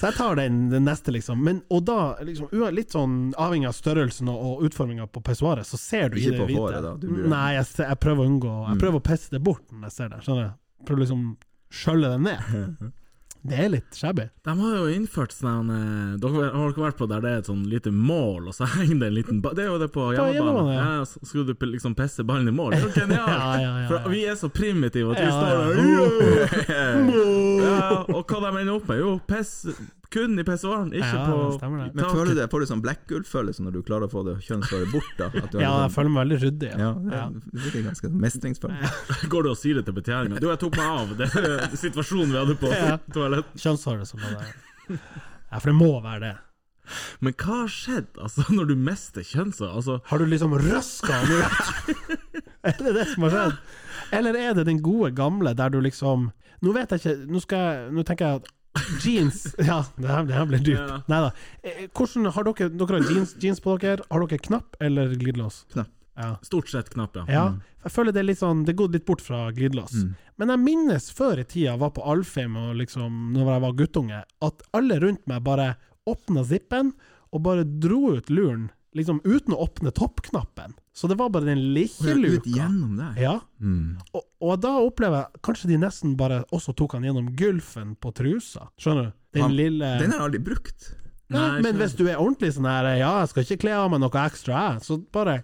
Speaker 3: Så jeg tar den, den neste, liksom. Men, og da, liksom, ua- litt sånn avhengig av størrelsen og, og utforminga på pissoaret, så ser du
Speaker 5: Ikke
Speaker 3: i det
Speaker 5: på håret, da, du Mm. burde-
Speaker 3: Nei, jeg, ser- jeg prøver å unngå Jeg prøver å pisse det bort når jeg ser det. Skjønner du? Prøver liksom skjølle det ned. Det er litt shabby.
Speaker 4: De har jo innført sånn eh, Dere har dere vært på der det er et sånn lite mål, og så henger det en liten ba Det er jo det på hjemmebane.
Speaker 3: hjemmebane,
Speaker 4: Ja,
Speaker 3: ja.
Speaker 4: så skulle du p- liksom pisse ballen i mål? Det er jo genialt!
Speaker 3: Ja, ja, ja, ja.
Speaker 4: For vi er så primitive at vi
Speaker 3: Ja,
Speaker 4: står
Speaker 3: ja.
Speaker 4: der ja, Og hva de ender opp med? Jo, piss kun i pissoaren, ikke
Speaker 3: Ja, det
Speaker 4: på
Speaker 3: stemmer det.
Speaker 5: men føler du det? Får du sånn blekkulf-følelse når du klarer å få det kjønnshåret bort? da? At du har
Speaker 3: Ja,
Speaker 5: sånn-
Speaker 3: jeg føler meg veldig ryddig. Ja.
Speaker 5: Ja, det er- det virker ganske sånn mestringsfølelse.
Speaker 4: Går du og sier det til betjeninga? Du, jeg tok meg av det er situasjonen vi hadde på
Speaker 3: Ja.
Speaker 4: toalettet.
Speaker 3: Kjønnshåret som lå der. Ja, for det må være det.
Speaker 4: Men hva har skjedd, altså, når du mister kjønnshår? Altså,
Speaker 3: Har du liksom røska den ut? er det det som har skjedd? Eller er det den gode gamle der du liksom Nå vet jeg ikke, nå, skal jeg, nå tenker jeg at jeans Ja, det her, det her blir dypt.
Speaker 4: Ja.
Speaker 3: Nei da. eh, Hvordan har dere Dere har jeans, jeans på dere. Har dere knapp eller glidelås?
Speaker 5: Knapp.
Speaker 3: Ja.
Speaker 4: stort sett knapp, ja.
Speaker 3: ja.
Speaker 5: Mm.
Speaker 3: Jeg føler det er litt sånn Det er gått litt bort fra glidelås. Men jeg minnes før i tida, jeg var på Alfheim og liksom Når jeg var guttunge, at alle rundt meg bare åpna zippen og bare dro ut luren, liksom uten å åpne toppknappen. Så det var bare den lille
Speaker 5: Ut
Speaker 3: luka.
Speaker 5: gjennom deg.
Speaker 3: Ja.
Speaker 5: Mm.
Speaker 3: Og, og da opplever jeg Kanskje de nesten bare også tok han gjennom gulfen på trusa. Skjønner du? Den
Speaker 5: Han-
Speaker 3: lille
Speaker 5: Den har jeg aldri brukt.
Speaker 3: Nei,
Speaker 4: Nei,
Speaker 3: Men
Speaker 4: ikke-
Speaker 3: hvis du er ordentlig sånn her Ja, jeg skal ikke kle av meg noe ekstra, jeg, så bare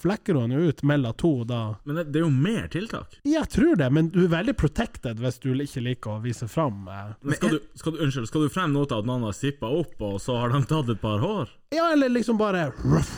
Speaker 3: flekker du han ut mellom to da
Speaker 4: Men det, det er jo mer tiltak.
Speaker 3: Jeg tror det, men du er veldig protected hvis du ikke liker å vise fram. eh.
Speaker 4: Men skal, du, skal, du, unnskyld, skal du frem nå til at noen har sippa opp, og så har de tatt et par hår?
Speaker 3: Ja, eller liksom bare ruff,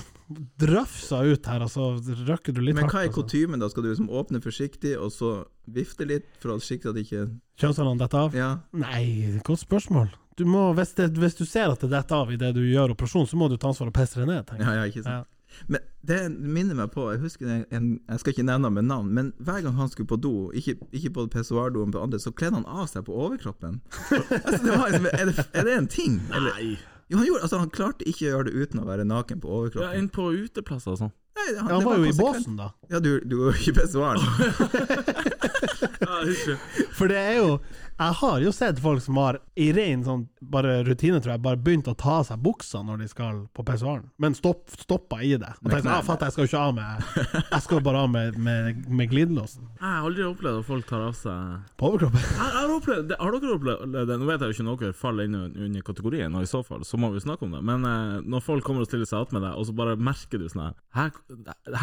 Speaker 3: drafsa ut her, og så røkker du litt
Speaker 5: Men hva
Speaker 3: hardt, altså?
Speaker 5: er
Speaker 3: og så-
Speaker 5: kutymen, da? Skal du liksom åpne forsiktig, og så vifte litt for å sikre at ikke
Speaker 3: Kjønnshårene detter av?
Speaker 5: Ja.
Speaker 3: Nei, godt spørsmål. Du må, hvis, det, hvis du ser at det detter av idet du gjør operasjon, så må du ta ansvar og pisse det ned. tenker
Speaker 5: Ja,
Speaker 3: jeg.
Speaker 5: ja, ikke sant. Men det minner meg på Jeg husker en, en, jeg skal ikke nevne ham med navn, men hver gang han skulle på do, ikke, ikke på pissoardoen, men på andre, så kledde han av seg på overkroppen. altså, det var liksom, er, det, er det en ting? Eller?
Speaker 4: Nei.
Speaker 5: Jo, han, gjorde, altså, han klarte ikke å gjøre det uten å være naken på
Speaker 4: Ja,
Speaker 5: overkroppen.
Speaker 4: Inn på uteplasser og sånn.
Speaker 5: Nei, det-
Speaker 3: Ja, han
Speaker 5: det
Speaker 3: var jo i
Speaker 5: konsekvent.
Speaker 3: båsen, da.
Speaker 5: Ja, du, du var jo ikke i pissoaren.
Speaker 4: Ja, ikke.
Speaker 3: For det er jo Jeg har jo sett folk som har, i ren sånn bare rutine, tror jeg, bare begynt å ta av seg buksa når de skal på pissoaren, men stopp, stoppa i det. Og
Speaker 5: Men
Speaker 3: tenkte
Speaker 5: knærne-
Speaker 3: ah, fatter, jeg skal jo ikke av med Jeg skal jo bare av med, med, med glidelåsen.
Speaker 4: Jeg har aldri opplevd at folk tar av seg
Speaker 3: På overkroppen?
Speaker 4: Jeg har, opplevd, det, har dere opplevd det? Nå vet jeg jo ikke om dere faller inn un- under kategorien, og i så fall så må vi jo snakke om det. Men eh, når folk kommer og stiller seg attmed deg, og så bare merker du sånn her her,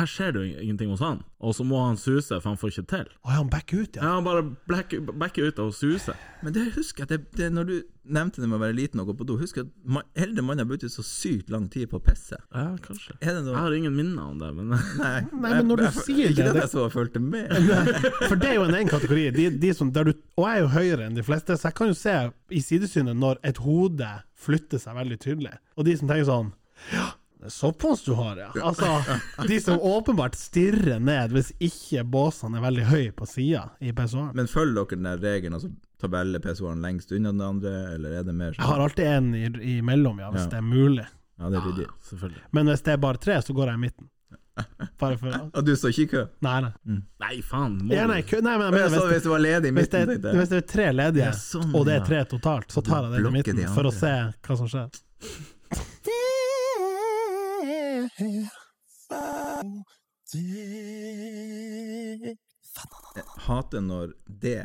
Speaker 4: her skjer det jo ing- ingenting hos han, og så må han suse, for han får ikke til.
Speaker 3: Å ja, han backer ut, ja.
Speaker 4: Ja, han bare blacker- backer ut og suser.
Speaker 5: Men det husker jeg, det, det, når du nevnte det med å være liten og gå på do, husker jeg at man, eldre mann har brukt så sykt lang tid på å pisse.
Speaker 4: Ja, kanskje.
Speaker 5: Er det noe
Speaker 4: Jeg har ingen minner om det, men
Speaker 5: Nei,
Speaker 3: Nei, men når du
Speaker 5: jeg- jeg-
Speaker 3: sier
Speaker 5: Ikke
Speaker 3: det,
Speaker 5: at
Speaker 3: det-
Speaker 5: jeg så og fulgte med.
Speaker 3: For det er jo en egen kategori. De, de som, der du, og jeg er jo høyere enn de fleste, så jeg kan jo se i sidesynet når et hode flytter seg veldig tydelig. Og de som tenker sånn Ja, det er såpass du har, ja. Altså, de som åpenbart stirrer ned hvis ikke båsene er veldig høye på sida i PSO-en.
Speaker 5: Men følger dere den der regelen, altså tabelle PSO-en lengst unna den andre, eller er det mer
Speaker 3: Jeg har alltid en i- imellom, ja, hvis
Speaker 5: Ja.
Speaker 3: det er mulig.
Speaker 5: Ja, det er
Speaker 4: ja,
Speaker 5: ryddig.
Speaker 4: selvfølgelig.
Speaker 3: Men hvis det er bare tre, så går jeg i midten. Bare for å
Speaker 5: Og du står ikke i kø?
Speaker 3: Nei, nei.
Speaker 4: Nei, faen! Må
Speaker 3: Ja, nei,
Speaker 4: du-
Speaker 3: kø, nei men jeg
Speaker 5: Men jeg
Speaker 3: mener,
Speaker 5: sa
Speaker 3: hvis,
Speaker 5: hvis du var ledig i
Speaker 3: hvis, det,
Speaker 5: midten,
Speaker 3: er-
Speaker 5: tenkte jeg.
Speaker 3: hvis det er tre ledige,
Speaker 5: Ja, sånn,
Speaker 3: og det
Speaker 5: ja.
Speaker 3: er tre totalt, så tar jeg den i
Speaker 5: Blokker
Speaker 3: midten
Speaker 5: de
Speaker 3: for å
Speaker 5: andre.
Speaker 3: se hva som skjer.
Speaker 5: Hater når det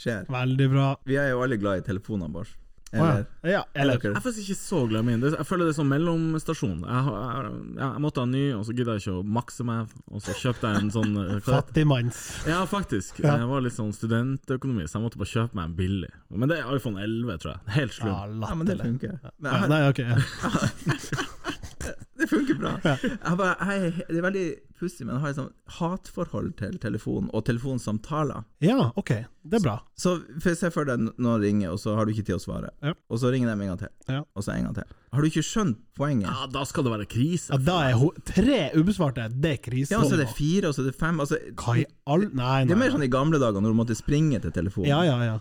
Speaker 5: skjer.
Speaker 3: Veldig bra.
Speaker 5: Vi er jo alle glad i telefonene våre.
Speaker 3: Å,
Speaker 5: Eller?
Speaker 3: ja. ja, eller
Speaker 5: Eller?
Speaker 4: Jeg er faktisk ikke så glad i min. Det- Jeg føler det er sånn mellomstasjon. Jeg, har- jeg, jeg, jeg måtte ha en ny, og så gidda jeg ikke å makse meg, og så kjøpte jeg en sånn eh, hva-
Speaker 3: fattigmanns.
Speaker 4: Ja, faktisk.
Speaker 3: Ja.
Speaker 4: Jeg var litt sånn studentøkonomi, så jeg måtte bare kjøpe meg en billig. Men det er iPhone 11, tror jeg. Helt slum.
Speaker 3: Ja,
Speaker 5: Ja, men det
Speaker 3: latterlig.
Speaker 5: funker. Men
Speaker 3: Ja,
Speaker 5: jeg,
Speaker 3: nei, ok. Ja.
Speaker 5: det funker bra. Jeg bare, jeg, det er veldig pussig, men jeg har et sånn hatforhold til telefon og telefonsamtaler.
Speaker 3: Ja, ok. Det er bra.
Speaker 5: Så for se for deg noen ringer, og så har du ikke tid å svare.
Speaker 3: Ja.
Speaker 5: Og så ringer de en gang til,
Speaker 3: Ja.
Speaker 5: og så en gang til. Har du ikke skjønt poenget?
Speaker 4: Ja, da skal det være krise.
Speaker 3: Ja, da er ho tre ubesvarte, det er krise.
Speaker 5: Ja, og så er det fire, og så er det fem. Altså,
Speaker 3: Hva i all Nei,
Speaker 5: det er mer
Speaker 3: nei.
Speaker 5: sånn i gamle dager, når du måtte springe til telefonen.
Speaker 3: Ja, ja, ja.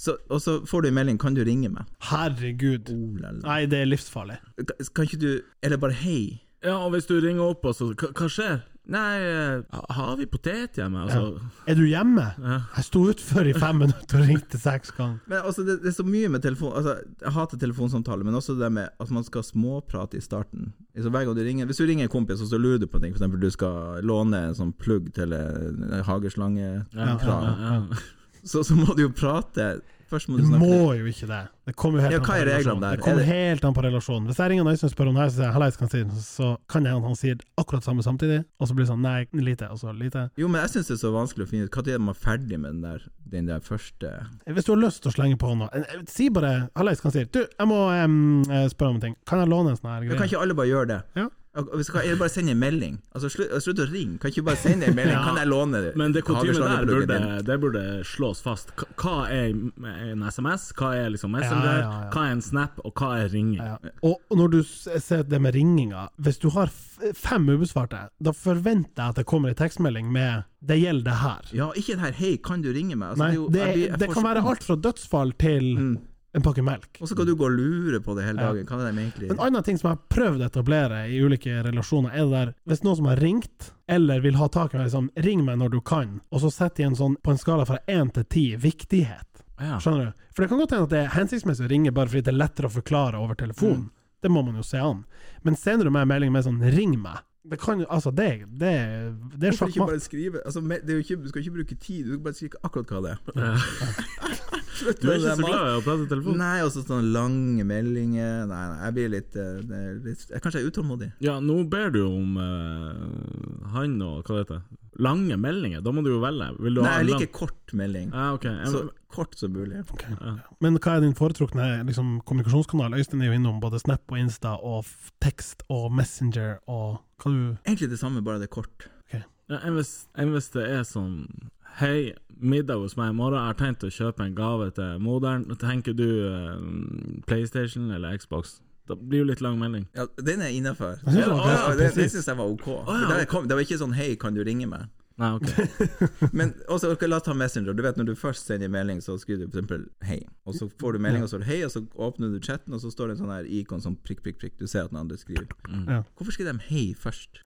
Speaker 5: Så, og så får du en melding 'Kan du ringe meg?'
Speaker 3: Herregud.
Speaker 5: Oh, la, la.
Speaker 3: Nei, det er livsfarlig.
Speaker 5: Kan, kan ikke du Eller bare 'hei'.
Speaker 4: Ja, og hvis du ringer opp, og så Hva hva skjer? Nei, eh, ha- har vi potet hjemme? Altså,
Speaker 3: Er du hjemme? Jeg sto utfor i fem minutter og ringte seks ganger.
Speaker 5: Men altså, det, det er så mye med telefon altså, Jeg hater telefonsamtaler, men også det der med at man skal småprate i starten. Så hver gang du ringer Hvis du ringer en kompis, og så lurer du på ting, f.eks. du skal låne en sånn plugg til en hageslange, kran,
Speaker 4: ja.
Speaker 5: så, så må du jo prate. Først må
Speaker 3: Du
Speaker 5: du snakke
Speaker 3: må jo ikke det. Det kommer jo helt
Speaker 5: Ja,
Speaker 3: an på
Speaker 5: hva er reglene
Speaker 3: relasjonen.
Speaker 5: der?
Speaker 3: Det kommer
Speaker 5: Er det-
Speaker 3: helt an på relasjonen. Hvis jeg ringer Øystein og spør om det her, så sier jeg hallais, kan jeg si det?" så kan jeg hende han sier akkurat samme samtidig, og så blir det sånn nei, lite, og så lite.
Speaker 5: Jo, men jeg syns det er så vanskelig å finne ut når man er ferdig med den der, den der første
Speaker 3: Hvis du har lyst til å slenge på noe, eh, si bare hallais, kan jeg si det?" Du, jeg må em, eh, spørre om en ting. Kan jeg låne en sånn her
Speaker 5: Men Kan
Speaker 3: greie?
Speaker 5: ikke alle bare gjøre det?
Speaker 3: Ja.
Speaker 5: Og- og Hvis, kan, eller bare sende en melding. Altså, slutt, slutt å ringe. Kan ikke du bare sende en melding? Kan jeg låne
Speaker 4: Men det kutymen der
Speaker 5: hageslagerpluggen
Speaker 4: burde,
Speaker 5: din?
Speaker 4: det burde slås fast. K- Hva er en SMS, hva er liksom Messenger,
Speaker 3: ja, ja.
Speaker 4: hva er en snap, og hva er ringing?
Speaker 3: Ja. Og når du s- ser det med ringinga, hvis du har f- fem ubesvarte, da forventer jeg at det kommer en tekstmelding med 'det gjelder det her'.
Speaker 5: Ja, ikke den her 'hei, kan du ringe meg?' Altså,
Speaker 3: Nei,
Speaker 5: er jo-
Speaker 3: det,
Speaker 5: jeg blir- jeg
Speaker 3: det
Speaker 5: får
Speaker 3: kan
Speaker 5: så Mm.
Speaker 3: være alt fra dødsfall til en pakke melk.
Speaker 5: Og så skal du gå og lure på det hele dagen. Hva er det de egentlig
Speaker 3: En annen ting som jeg har prøvd å etablere i ulike relasjoner, er det der hvis noen som har ringt, eller vil ha tak i meg, liksom 'ring meg når du kan', og så setter de en sånn på en skala fra én til ti viktighet.
Speaker 4: Ja.
Speaker 3: Skjønner du? For det kan godt hende at det er hensiktsmessig å ringe bare fordi det er lettere å forklare over telefon.
Speaker 5: Mm.
Speaker 3: Det må man jo se an. Men sender du meg en melding med sånn 'ring meg', det kan jo Altså, det, det, det er
Speaker 5: Hvorfor ikke
Speaker 3: sjakkmatt.
Speaker 5: bare skrive altså, me- det er jo ikke, Du skal ikke bruke tid, du skal bare skrive akkurat hva det er.
Speaker 4: Du er ikke så glad i å prate i telefonen?
Speaker 5: Nei, også sånne lange meldinger Nei, nei, jeg blir litt, eh, det er litt jeg, Kanskje jeg er utålmodig.
Speaker 4: Ja, nå ber du jo om eh, han og hva det heter Lange meldinger, da må du jo velge. Vil du
Speaker 5: Nei,
Speaker 4: ha en
Speaker 5: jeg liker
Speaker 4: lang-
Speaker 5: kort melding.
Speaker 4: ja, ok. Jeg-
Speaker 5: Så kort som mulig.
Speaker 3: Men hva er din foretrukne liksom, kommunikasjonskanal? Øystein er jo innom både Snap og Insta og f- tekst og Messenger og hva du
Speaker 5: Egentlig det samme, bare det er kort.
Speaker 4: Ja, enn hvis, enn hvis det er sånn Hei, middag hos meg i morgen. Jeg har tenkt å kjøpe en gave til moderen. Tenker du eh, PlayStation eller Xbox? Da blir jo litt lang melding.
Speaker 5: Ja, den er innafor.
Speaker 3: synes det
Speaker 5: Ja,
Speaker 3: var
Speaker 5: å ja,
Speaker 3: ganske
Speaker 5: det det
Speaker 3: presis.
Speaker 5: syns jeg var ok. Det, der kom, det var ikke sånn 'hei, kan du ringe meg'?
Speaker 4: Nei, ok.
Speaker 5: Men også, ok, la oss ta Messenger. Du vet Når du først sender en melding, så skriver du f.eks. 'hei', og så får du melding, og så er det 'hei', og så åpner du chatten, og så står det en sånn her ikon som prikk, prikk, prikk. Du ser at den andre skriver.
Speaker 3: Ja.
Speaker 5: Hvorfor skriver de 'hei' først?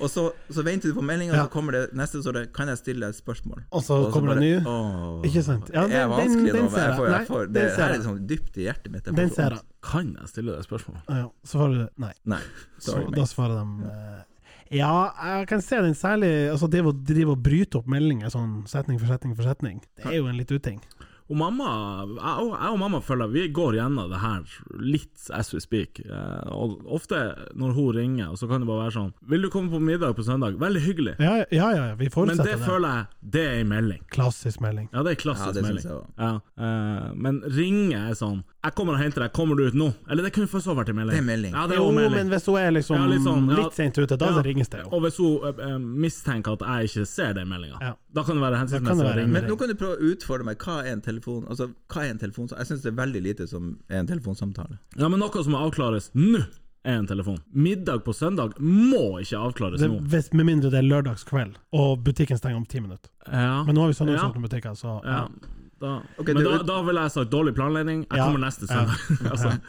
Speaker 5: Og så, så venter du på meldinga, og
Speaker 3: Ja.
Speaker 5: så kommer det neste står det 'kan jeg stille deg et spørsmål'?
Speaker 3: Og så kommer det ny.
Speaker 5: bare, «Åh,
Speaker 3: Ikke sant? Ja,
Speaker 5: det er
Speaker 3: den-
Speaker 5: vanskelig
Speaker 3: den- den
Speaker 5: nå, men
Speaker 3: ser
Speaker 5: jeg får,
Speaker 3: jeg.
Speaker 5: jeg får,
Speaker 3: Nei,
Speaker 5: det
Speaker 3: den ser
Speaker 5: her er
Speaker 3: jeg.
Speaker 5: liksom dypt i hjertet mitt. får
Speaker 3: Den
Speaker 5: så
Speaker 3: ser
Speaker 5: vondt.
Speaker 3: jeg.
Speaker 4: Kan jeg stille deg et spørsmål?
Speaker 3: Ja, ja. så svarer du nei.
Speaker 5: Nei.
Speaker 3: Så,
Speaker 5: Sorry, mate.
Speaker 3: da svarer de eh, Ja, jeg kan se den særlig Altså, det å drive og bryte opp meldinger sånn setning for setning for setning, det er jo en litt uting.
Speaker 4: Og mamma, jeg og, jeg og mamma føler Vi går gjennom det her litt as we speak. Eh, og ofte når hun ringer, så kan det bare være sånn 'Vil du komme på middag på søndag?' Veldig hyggelig.
Speaker 3: Ja, ja, ja, ja vi
Speaker 4: Men
Speaker 3: forutsetter
Speaker 4: det
Speaker 3: det.
Speaker 4: føler jeg Det er en melding.
Speaker 3: Klassisk melding.
Speaker 4: Ja, det er klassisk
Speaker 5: Ja, det
Speaker 4: melding.
Speaker 5: synes jeg også.
Speaker 4: Ja, eh, men ringe er sånn 'Jeg kommer og henter deg. Kommer du ut nå?' Eller det kunne først også vært en melding.
Speaker 5: Det er melding.
Speaker 4: Ja, det er
Speaker 3: Jo,
Speaker 4: også melding.
Speaker 3: men hvis hun er liksom
Speaker 4: Ja,
Speaker 3: litt,
Speaker 4: litt sånn, ja.
Speaker 3: sent ute, da
Speaker 4: Ja.
Speaker 3: ringes det jo.
Speaker 4: Og hvis hun eh, eh, mistenker at jeg ikke ser den meldinga,
Speaker 3: Ja.
Speaker 4: da kan det være
Speaker 3: Da kan det
Speaker 4: hensiktsmessig å
Speaker 3: være en
Speaker 4: ringe.
Speaker 5: Men nå kan du prøve å utfordre meg. Hva er en telefon? Altså, hva er en telefon? Jeg syns det er veldig lite som er en telefonsamtale.
Speaker 4: Ja, men noe som må avklares nå, er en telefon. Middag på søndag må ikke avklares
Speaker 3: Det,
Speaker 4: nå.
Speaker 3: hvis, med mindre det er lørdagskveld, og butikken stenger om ti minutter.
Speaker 4: Ja.
Speaker 3: Men nå har vi sånn sånne
Speaker 4: Ja.
Speaker 3: utsolgte butikker, så ja.
Speaker 4: Ja, da.
Speaker 5: Ok,
Speaker 4: Men
Speaker 5: det-
Speaker 4: da, da vil jeg sagt dårlig planlegging. Jeg
Speaker 3: Ja.
Speaker 4: kommer neste søndag. altså.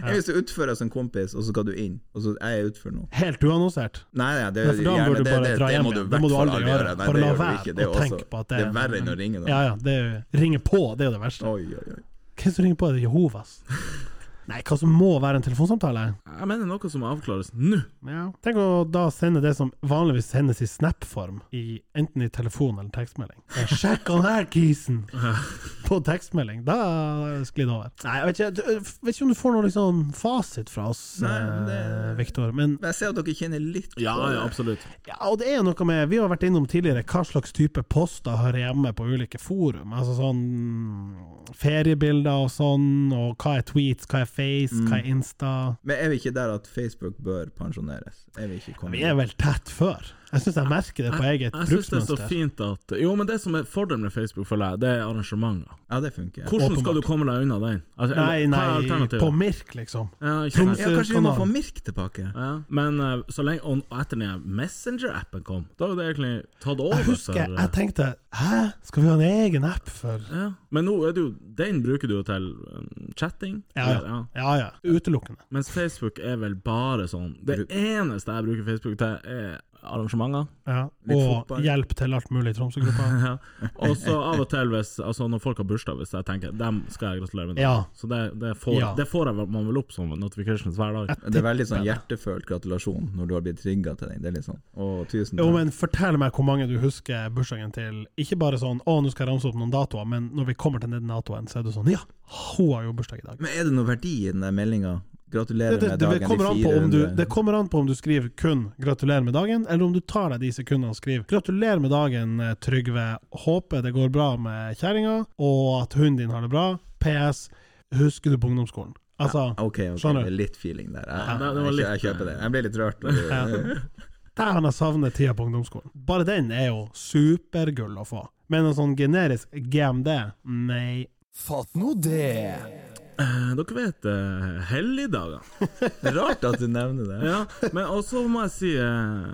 Speaker 5: Jeg er så utfører som kompis, og så skal du inn. Og så er jeg utfor nå.
Speaker 3: Helt uannonsert.
Speaker 5: Nei, nei,
Speaker 3: Nei,
Speaker 5: det,
Speaker 3: for da
Speaker 5: gjerne,
Speaker 3: bør du
Speaker 5: det,
Speaker 3: bare
Speaker 5: det,
Speaker 3: dra
Speaker 5: det
Speaker 3: hjem
Speaker 5: må du i
Speaker 3: igjen. Det må du
Speaker 5: hvert fall
Speaker 3: aldri
Speaker 5: aldri gjøre.
Speaker 3: gjøre,
Speaker 5: Nei,
Speaker 3: for
Speaker 5: det
Speaker 3: la
Speaker 5: gjør du
Speaker 3: være
Speaker 5: ikke. Det
Speaker 3: å
Speaker 5: er, også,
Speaker 3: tenke på at det
Speaker 5: det er
Speaker 3: er-
Speaker 5: verre enn å ringe noen.
Speaker 3: Ja, ja, det er jo Ringe på, det er jo det verste.
Speaker 5: Oi, oi, oi.
Speaker 3: Hvem som ringer på? Er det Jehovas? Nei, hva som må være en telefonsamtale?
Speaker 4: Jeg mener noe som må avklares nå.
Speaker 3: Ja. Tenk å da sende det som vanligvis sendes i Snap-form, i, enten i telefon eller tekstmelding. Eh, Sjekk han her, kisen! På tekstmelding. Da sklir det over. Nei, jeg vet ikke, du- jeg vet ikke om du får noe liksom fasit fra oss,
Speaker 5: Nei, men det-
Speaker 3: eh, Viktor. Men
Speaker 5: Men jeg ser at dere kjenner litt på
Speaker 4: Ja, ja,
Speaker 5: det.
Speaker 4: absolutt.
Speaker 3: ja, og det er noe med Vi har vært innom tidligere hva slags type poster hører hjemme på ulike forum. Altså sånn feriebilder og sånn, og hva er tweets, hva er face, hva er Insta?
Speaker 5: Men er vi ikke der at Facebook bør pensjoneres? Er vi ikke
Speaker 3: Vi
Speaker 5: kommet
Speaker 3: er vel tett før. Jeg syns jeg merker det på eget
Speaker 4: Jeg syns det er så
Speaker 3: bruksmønster.
Speaker 4: fint at Jo, men det som er fordelen med Facebook, føler jeg, det er arrangementer.
Speaker 5: Ja, det funker.
Speaker 4: Hvordan skal du komme deg unna den? Altså,
Speaker 3: Nei,
Speaker 4: eller, hva er
Speaker 3: nei,
Speaker 4: alternativet?
Speaker 3: på Mirk, liksom.
Speaker 4: ja, ikke sant?
Speaker 5: Ja, kanskje vi må
Speaker 3: kanal.
Speaker 5: få Mirk tilbake?
Speaker 4: ja, Men eh, så lenge Og og etter den her Messenger-appen kom, da er det egentlig tatt over.
Speaker 3: Jeg husker
Speaker 4: for, eh,
Speaker 3: jeg tenkte Hæ, skal vi ha en egen app for
Speaker 4: ja. Men nå er det jo Den bruker du jo til eh, chatting.
Speaker 3: Ja ja. ja, ja. Utelukkende.
Speaker 4: Mens Facebook er vel bare sånn Det eneste jeg bruker Facebook til, er arrangementer.
Speaker 3: Ja.
Speaker 5: Litt
Speaker 3: Og
Speaker 5: fotball.
Speaker 3: hjelp til alt mulig i Tromsø-gruppa.
Speaker 4: Ja. Og så av og til, hvis, altså når folk har bursdag, hvis jeg tenker dem skal jeg gratulere med dagen.
Speaker 3: Ja.
Speaker 4: Så det, det, får,
Speaker 3: Ja.
Speaker 4: det får jeg vel- man vel opp som notifications hver dag.
Speaker 5: Det er veldig sånn hjertefølt gratulasjon når du har blitt trigga til den. Det er litt sånn Å, tusen
Speaker 3: Jo,
Speaker 5: takk.
Speaker 3: men fortell meg hvor mange du husker bursdagen til. Ikke bare sånn 'Å, nå skal jeg ramse opp noen datoer', men når vi kommer til den datoen, så er du sånn 'Ja, hun har jo bursdag i dag'.
Speaker 5: Men er det noe verdi i den der meldinga?
Speaker 3: Det,
Speaker 5: Gratulerer
Speaker 3: det,
Speaker 5: med
Speaker 3: det,
Speaker 5: dagen,
Speaker 3: kommer an
Speaker 5: de
Speaker 3: på om du,
Speaker 5: 400.
Speaker 3: det kommer an på om du skriver kun 'gratulerer med dagen', eller om du tar deg de sekundene og skriver 'gratulerer med dagen, eh, Trygve'. Håper det går bra med kjerringa, og at hunden din har det bra. PS. Husker du på ungdomsskolen? Altså,
Speaker 5: Ok, ok,
Speaker 3: Skjønner.
Speaker 5: det er litt feeling der. Jeg,
Speaker 4: Ja, det- det var
Speaker 5: jeg,
Speaker 4: litt-
Speaker 5: kjø- jeg kjøper det. Jeg ble litt rørt. når du-
Speaker 3: der han har savnet tida på ungdomsskolen. Bare den er jo supergull å få. Men en sånn generisk GMD? Nei.
Speaker 2: Fatt nå det.
Speaker 4: Eh, Dere vet uh, helligdager.
Speaker 5: Det er Rart at du nevner det.
Speaker 4: Ja, men også må jeg si eh,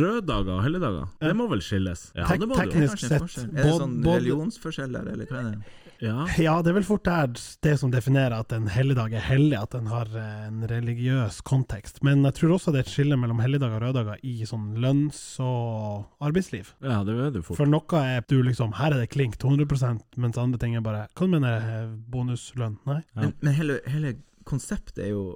Speaker 4: røddager og helligdager. Det må vel skilles? Ja,
Speaker 3: Tek-
Speaker 4: det må det jo.
Speaker 3: teknisk
Speaker 5: Kanskje en
Speaker 3: sett
Speaker 5: forskjell. Er det
Speaker 3: bod-
Speaker 5: sånn
Speaker 3: bod-
Speaker 5: religionsforskjeller, eller hva er det?
Speaker 4: Ja.
Speaker 3: Ja, det er vel fort der det som definerer at en helligdag er hellig, at den har eh, en religiøs kontekst. Men jeg tror også det er et skille mellom helligdager og røddager i sånn lønns- og arbeidsliv.
Speaker 4: ja, det er det jo fort.
Speaker 3: For noe er du liksom Her er det klink 100 mens andre ting er bare Hva du mener eh, bonuslønn? Nei?
Speaker 4: Ja.
Speaker 5: Men, men hele, hele konseptet er jo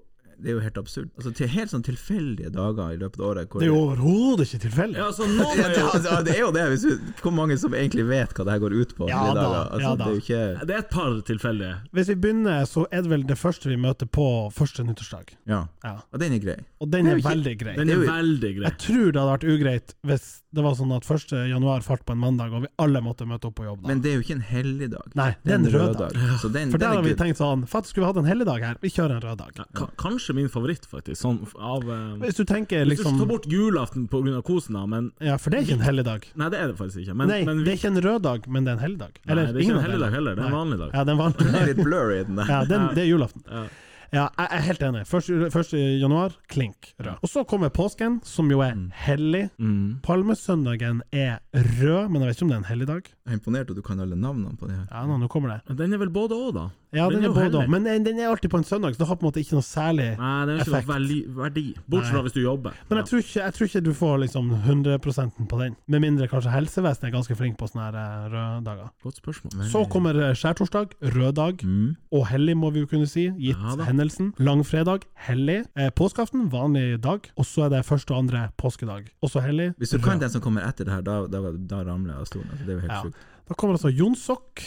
Speaker 5: det er jo helt absurd. Altså til Helt sånn tilfeldige dager i løpet av året. Hvor
Speaker 3: Det er jo overhodet ikke tilfeldig.
Speaker 4: Ja, så noen
Speaker 5: Ja,
Speaker 4: er
Speaker 5: det,
Speaker 4: jo
Speaker 5: altså, det er jo det, hvis du, hvor mange som egentlig vet hva det her går ut på.
Speaker 3: Ja
Speaker 5: de
Speaker 3: da,
Speaker 5: dager. altså,
Speaker 3: ja da.
Speaker 5: Det er jo ikke
Speaker 4: Det er et par tilfeldige.
Speaker 3: Hvis vi begynner, så er det vel det første vi møter på første nyttårsdag.
Speaker 5: Ja.
Speaker 3: Ja.
Speaker 5: Og den er grei.
Speaker 3: Og den
Speaker 5: Det er
Speaker 3: er
Speaker 5: jo ikke-
Speaker 3: veldig grei.
Speaker 4: Den
Speaker 5: Det
Speaker 4: er
Speaker 5: er jo-
Speaker 4: veldig grei.
Speaker 3: Jeg tror det hadde vært ugreit hvis det var sånn at 1. januar falt på en mandag, og vi alle måtte møte opp på jobb da.
Speaker 5: Men det er jo ikke en hellig dag.
Speaker 3: Nei, det er en rød dag.
Speaker 5: Så
Speaker 4: Mm,
Speaker 5: den,
Speaker 3: For der
Speaker 5: den
Speaker 3: har
Speaker 5: er
Speaker 3: vi
Speaker 5: good.
Speaker 3: tenkt sånn Fatt, skulle vi hatt en helligdag her? Vi kjører en rød dag.
Speaker 4: Ja, ka- Kanskje min favoritt, faktisk. Sånn f- av eh,
Speaker 3: Hvis du tenker
Speaker 4: Hvis du
Speaker 3: liksom
Speaker 4: tar bort julaften pga. kosen, da, men
Speaker 3: Ja, for det er ikke en helligdag.
Speaker 4: Nei, det er det faktisk ikke. Men,
Speaker 3: Nei,
Speaker 4: men
Speaker 3: det er ikke en rød dag, men det er en helligdag.
Speaker 4: Nei, det er ikke en
Speaker 3: av delene.
Speaker 4: helligdag heller, det er en
Speaker 3: Nei.
Speaker 4: vanlig dag.
Speaker 3: Ja, det er en vanlig
Speaker 5: Den er litt blurry, den der.
Speaker 3: Ja, den, det er julaften.
Speaker 4: Ja.
Speaker 3: Ja, jeg er helt enig. 1. januar, klink rød. Og så kommer påsken, som jo er hellig.
Speaker 4: mm.
Speaker 3: Palmesøndagen er rød, men jeg vet ikke om det er en helligdag.
Speaker 5: Jeg er imponert at du kan alle navnene på det her.
Speaker 3: Ja, nå, nå kommer det.
Speaker 4: Den er vel både òg, da?
Speaker 3: Ja, den, er
Speaker 4: jo
Speaker 3: både
Speaker 4: hellig.
Speaker 3: òg, men den den er alltid på en søndag, så det har på en måte ikke noe særlig
Speaker 4: Nei, den er ikke noe
Speaker 3: Effekt.
Speaker 4: verdi, verdi. Bortsett fra hvis du jobber.
Speaker 3: Men jeg tror, ikke, jeg tror ikke du får liksom 100 på den, med mindre kanskje helsevesenet er ganske flink på sånne her eh, røde dager.
Speaker 4: ja. Godt spørsmål. Men,
Speaker 5: Mm.
Speaker 3: Så kommer eh, skjærtorsdag, rød dag, og hellig må vi jo kunne si, gitt
Speaker 4: Ja da.
Speaker 3: hendelsen. Langfredag, hellig. Eh, påskeaften, vanlig dag. Og så er det første og andre påskedag, også hellig.
Speaker 5: Hvis du kan den som kommer etter det her, da, da, da ramler jeg av stolen. Altså, det er jo helt
Speaker 3: Ja.
Speaker 5: sjukt.
Speaker 3: Da kommer altså Jonsok.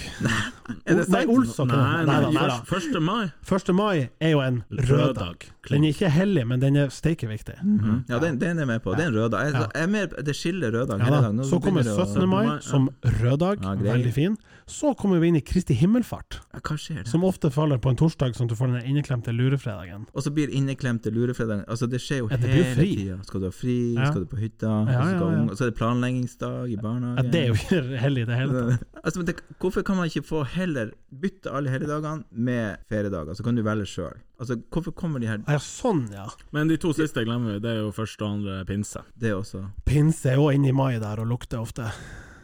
Speaker 5: det
Speaker 3: Nei,
Speaker 5: sant?
Speaker 3: Olsok.
Speaker 4: Nei,
Speaker 3: er det.
Speaker 4: nei,
Speaker 3: Nei, nei, nei,
Speaker 4: først- første mai.
Speaker 3: 1. mai er jo en rød dag. Den er ikke hellig, men den er steike viktig.
Speaker 5: Mm. Ja, den, den er jeg med på. Det er en rød dag. Jeg, jeg er mer, det skiller rød dag.
Speaker 3: Ja,
Speaker 5: hele
Speaker 3: da.
Speaker 5: dag. Nå
Speaker 3: Så kommer
Speaker 5: begynner det å-
Speaker 3: 17. mai som rød dag,
Speaker 5: Ja, grei.
Speaker 3: veldig fin. Så kommer vi inn i Kristi himmelfart.
Speaker 5: Ja, Hva skjer?
Speaker 3: Som ofte faller på en torsdag, sånn at du får den inneklemte lurefredagen.
Speaker 5: Og så blir inneklemte lurefredagen Altså Det skjer jo
Speaker 3: Ja, det blir jo
Speaker 5: hele
Speaker 3: fri.
Speaker 5: tida. Skal du ha fri,
Speaker 3: Ja.
Speaker 5: skal du på hytta,
Speaker 3: Ja,
Speaker 5: og så skal
Speaker 3: ja, ja.
Speaker 5: unge- og så er det planleggingsdag i barnehagen.
Speaker 3: Ja, det er jo ikke hellig i det hele tatt.
Speaker 5: altså, men det, hvorfor kan man ikke få heller bytte alle helligdagene med feriedager? Så kan du velge sjøl. Altså, hvorfor kommer de her
Speaker 3: Ja, sånn, ja.
Speaker 4: Men de to siste glemmer vi. Det er jo første og andre pinse.
Speaker 5: Det også.
Speaker 3: Pinse er jo inne i mai der og lukter ofte.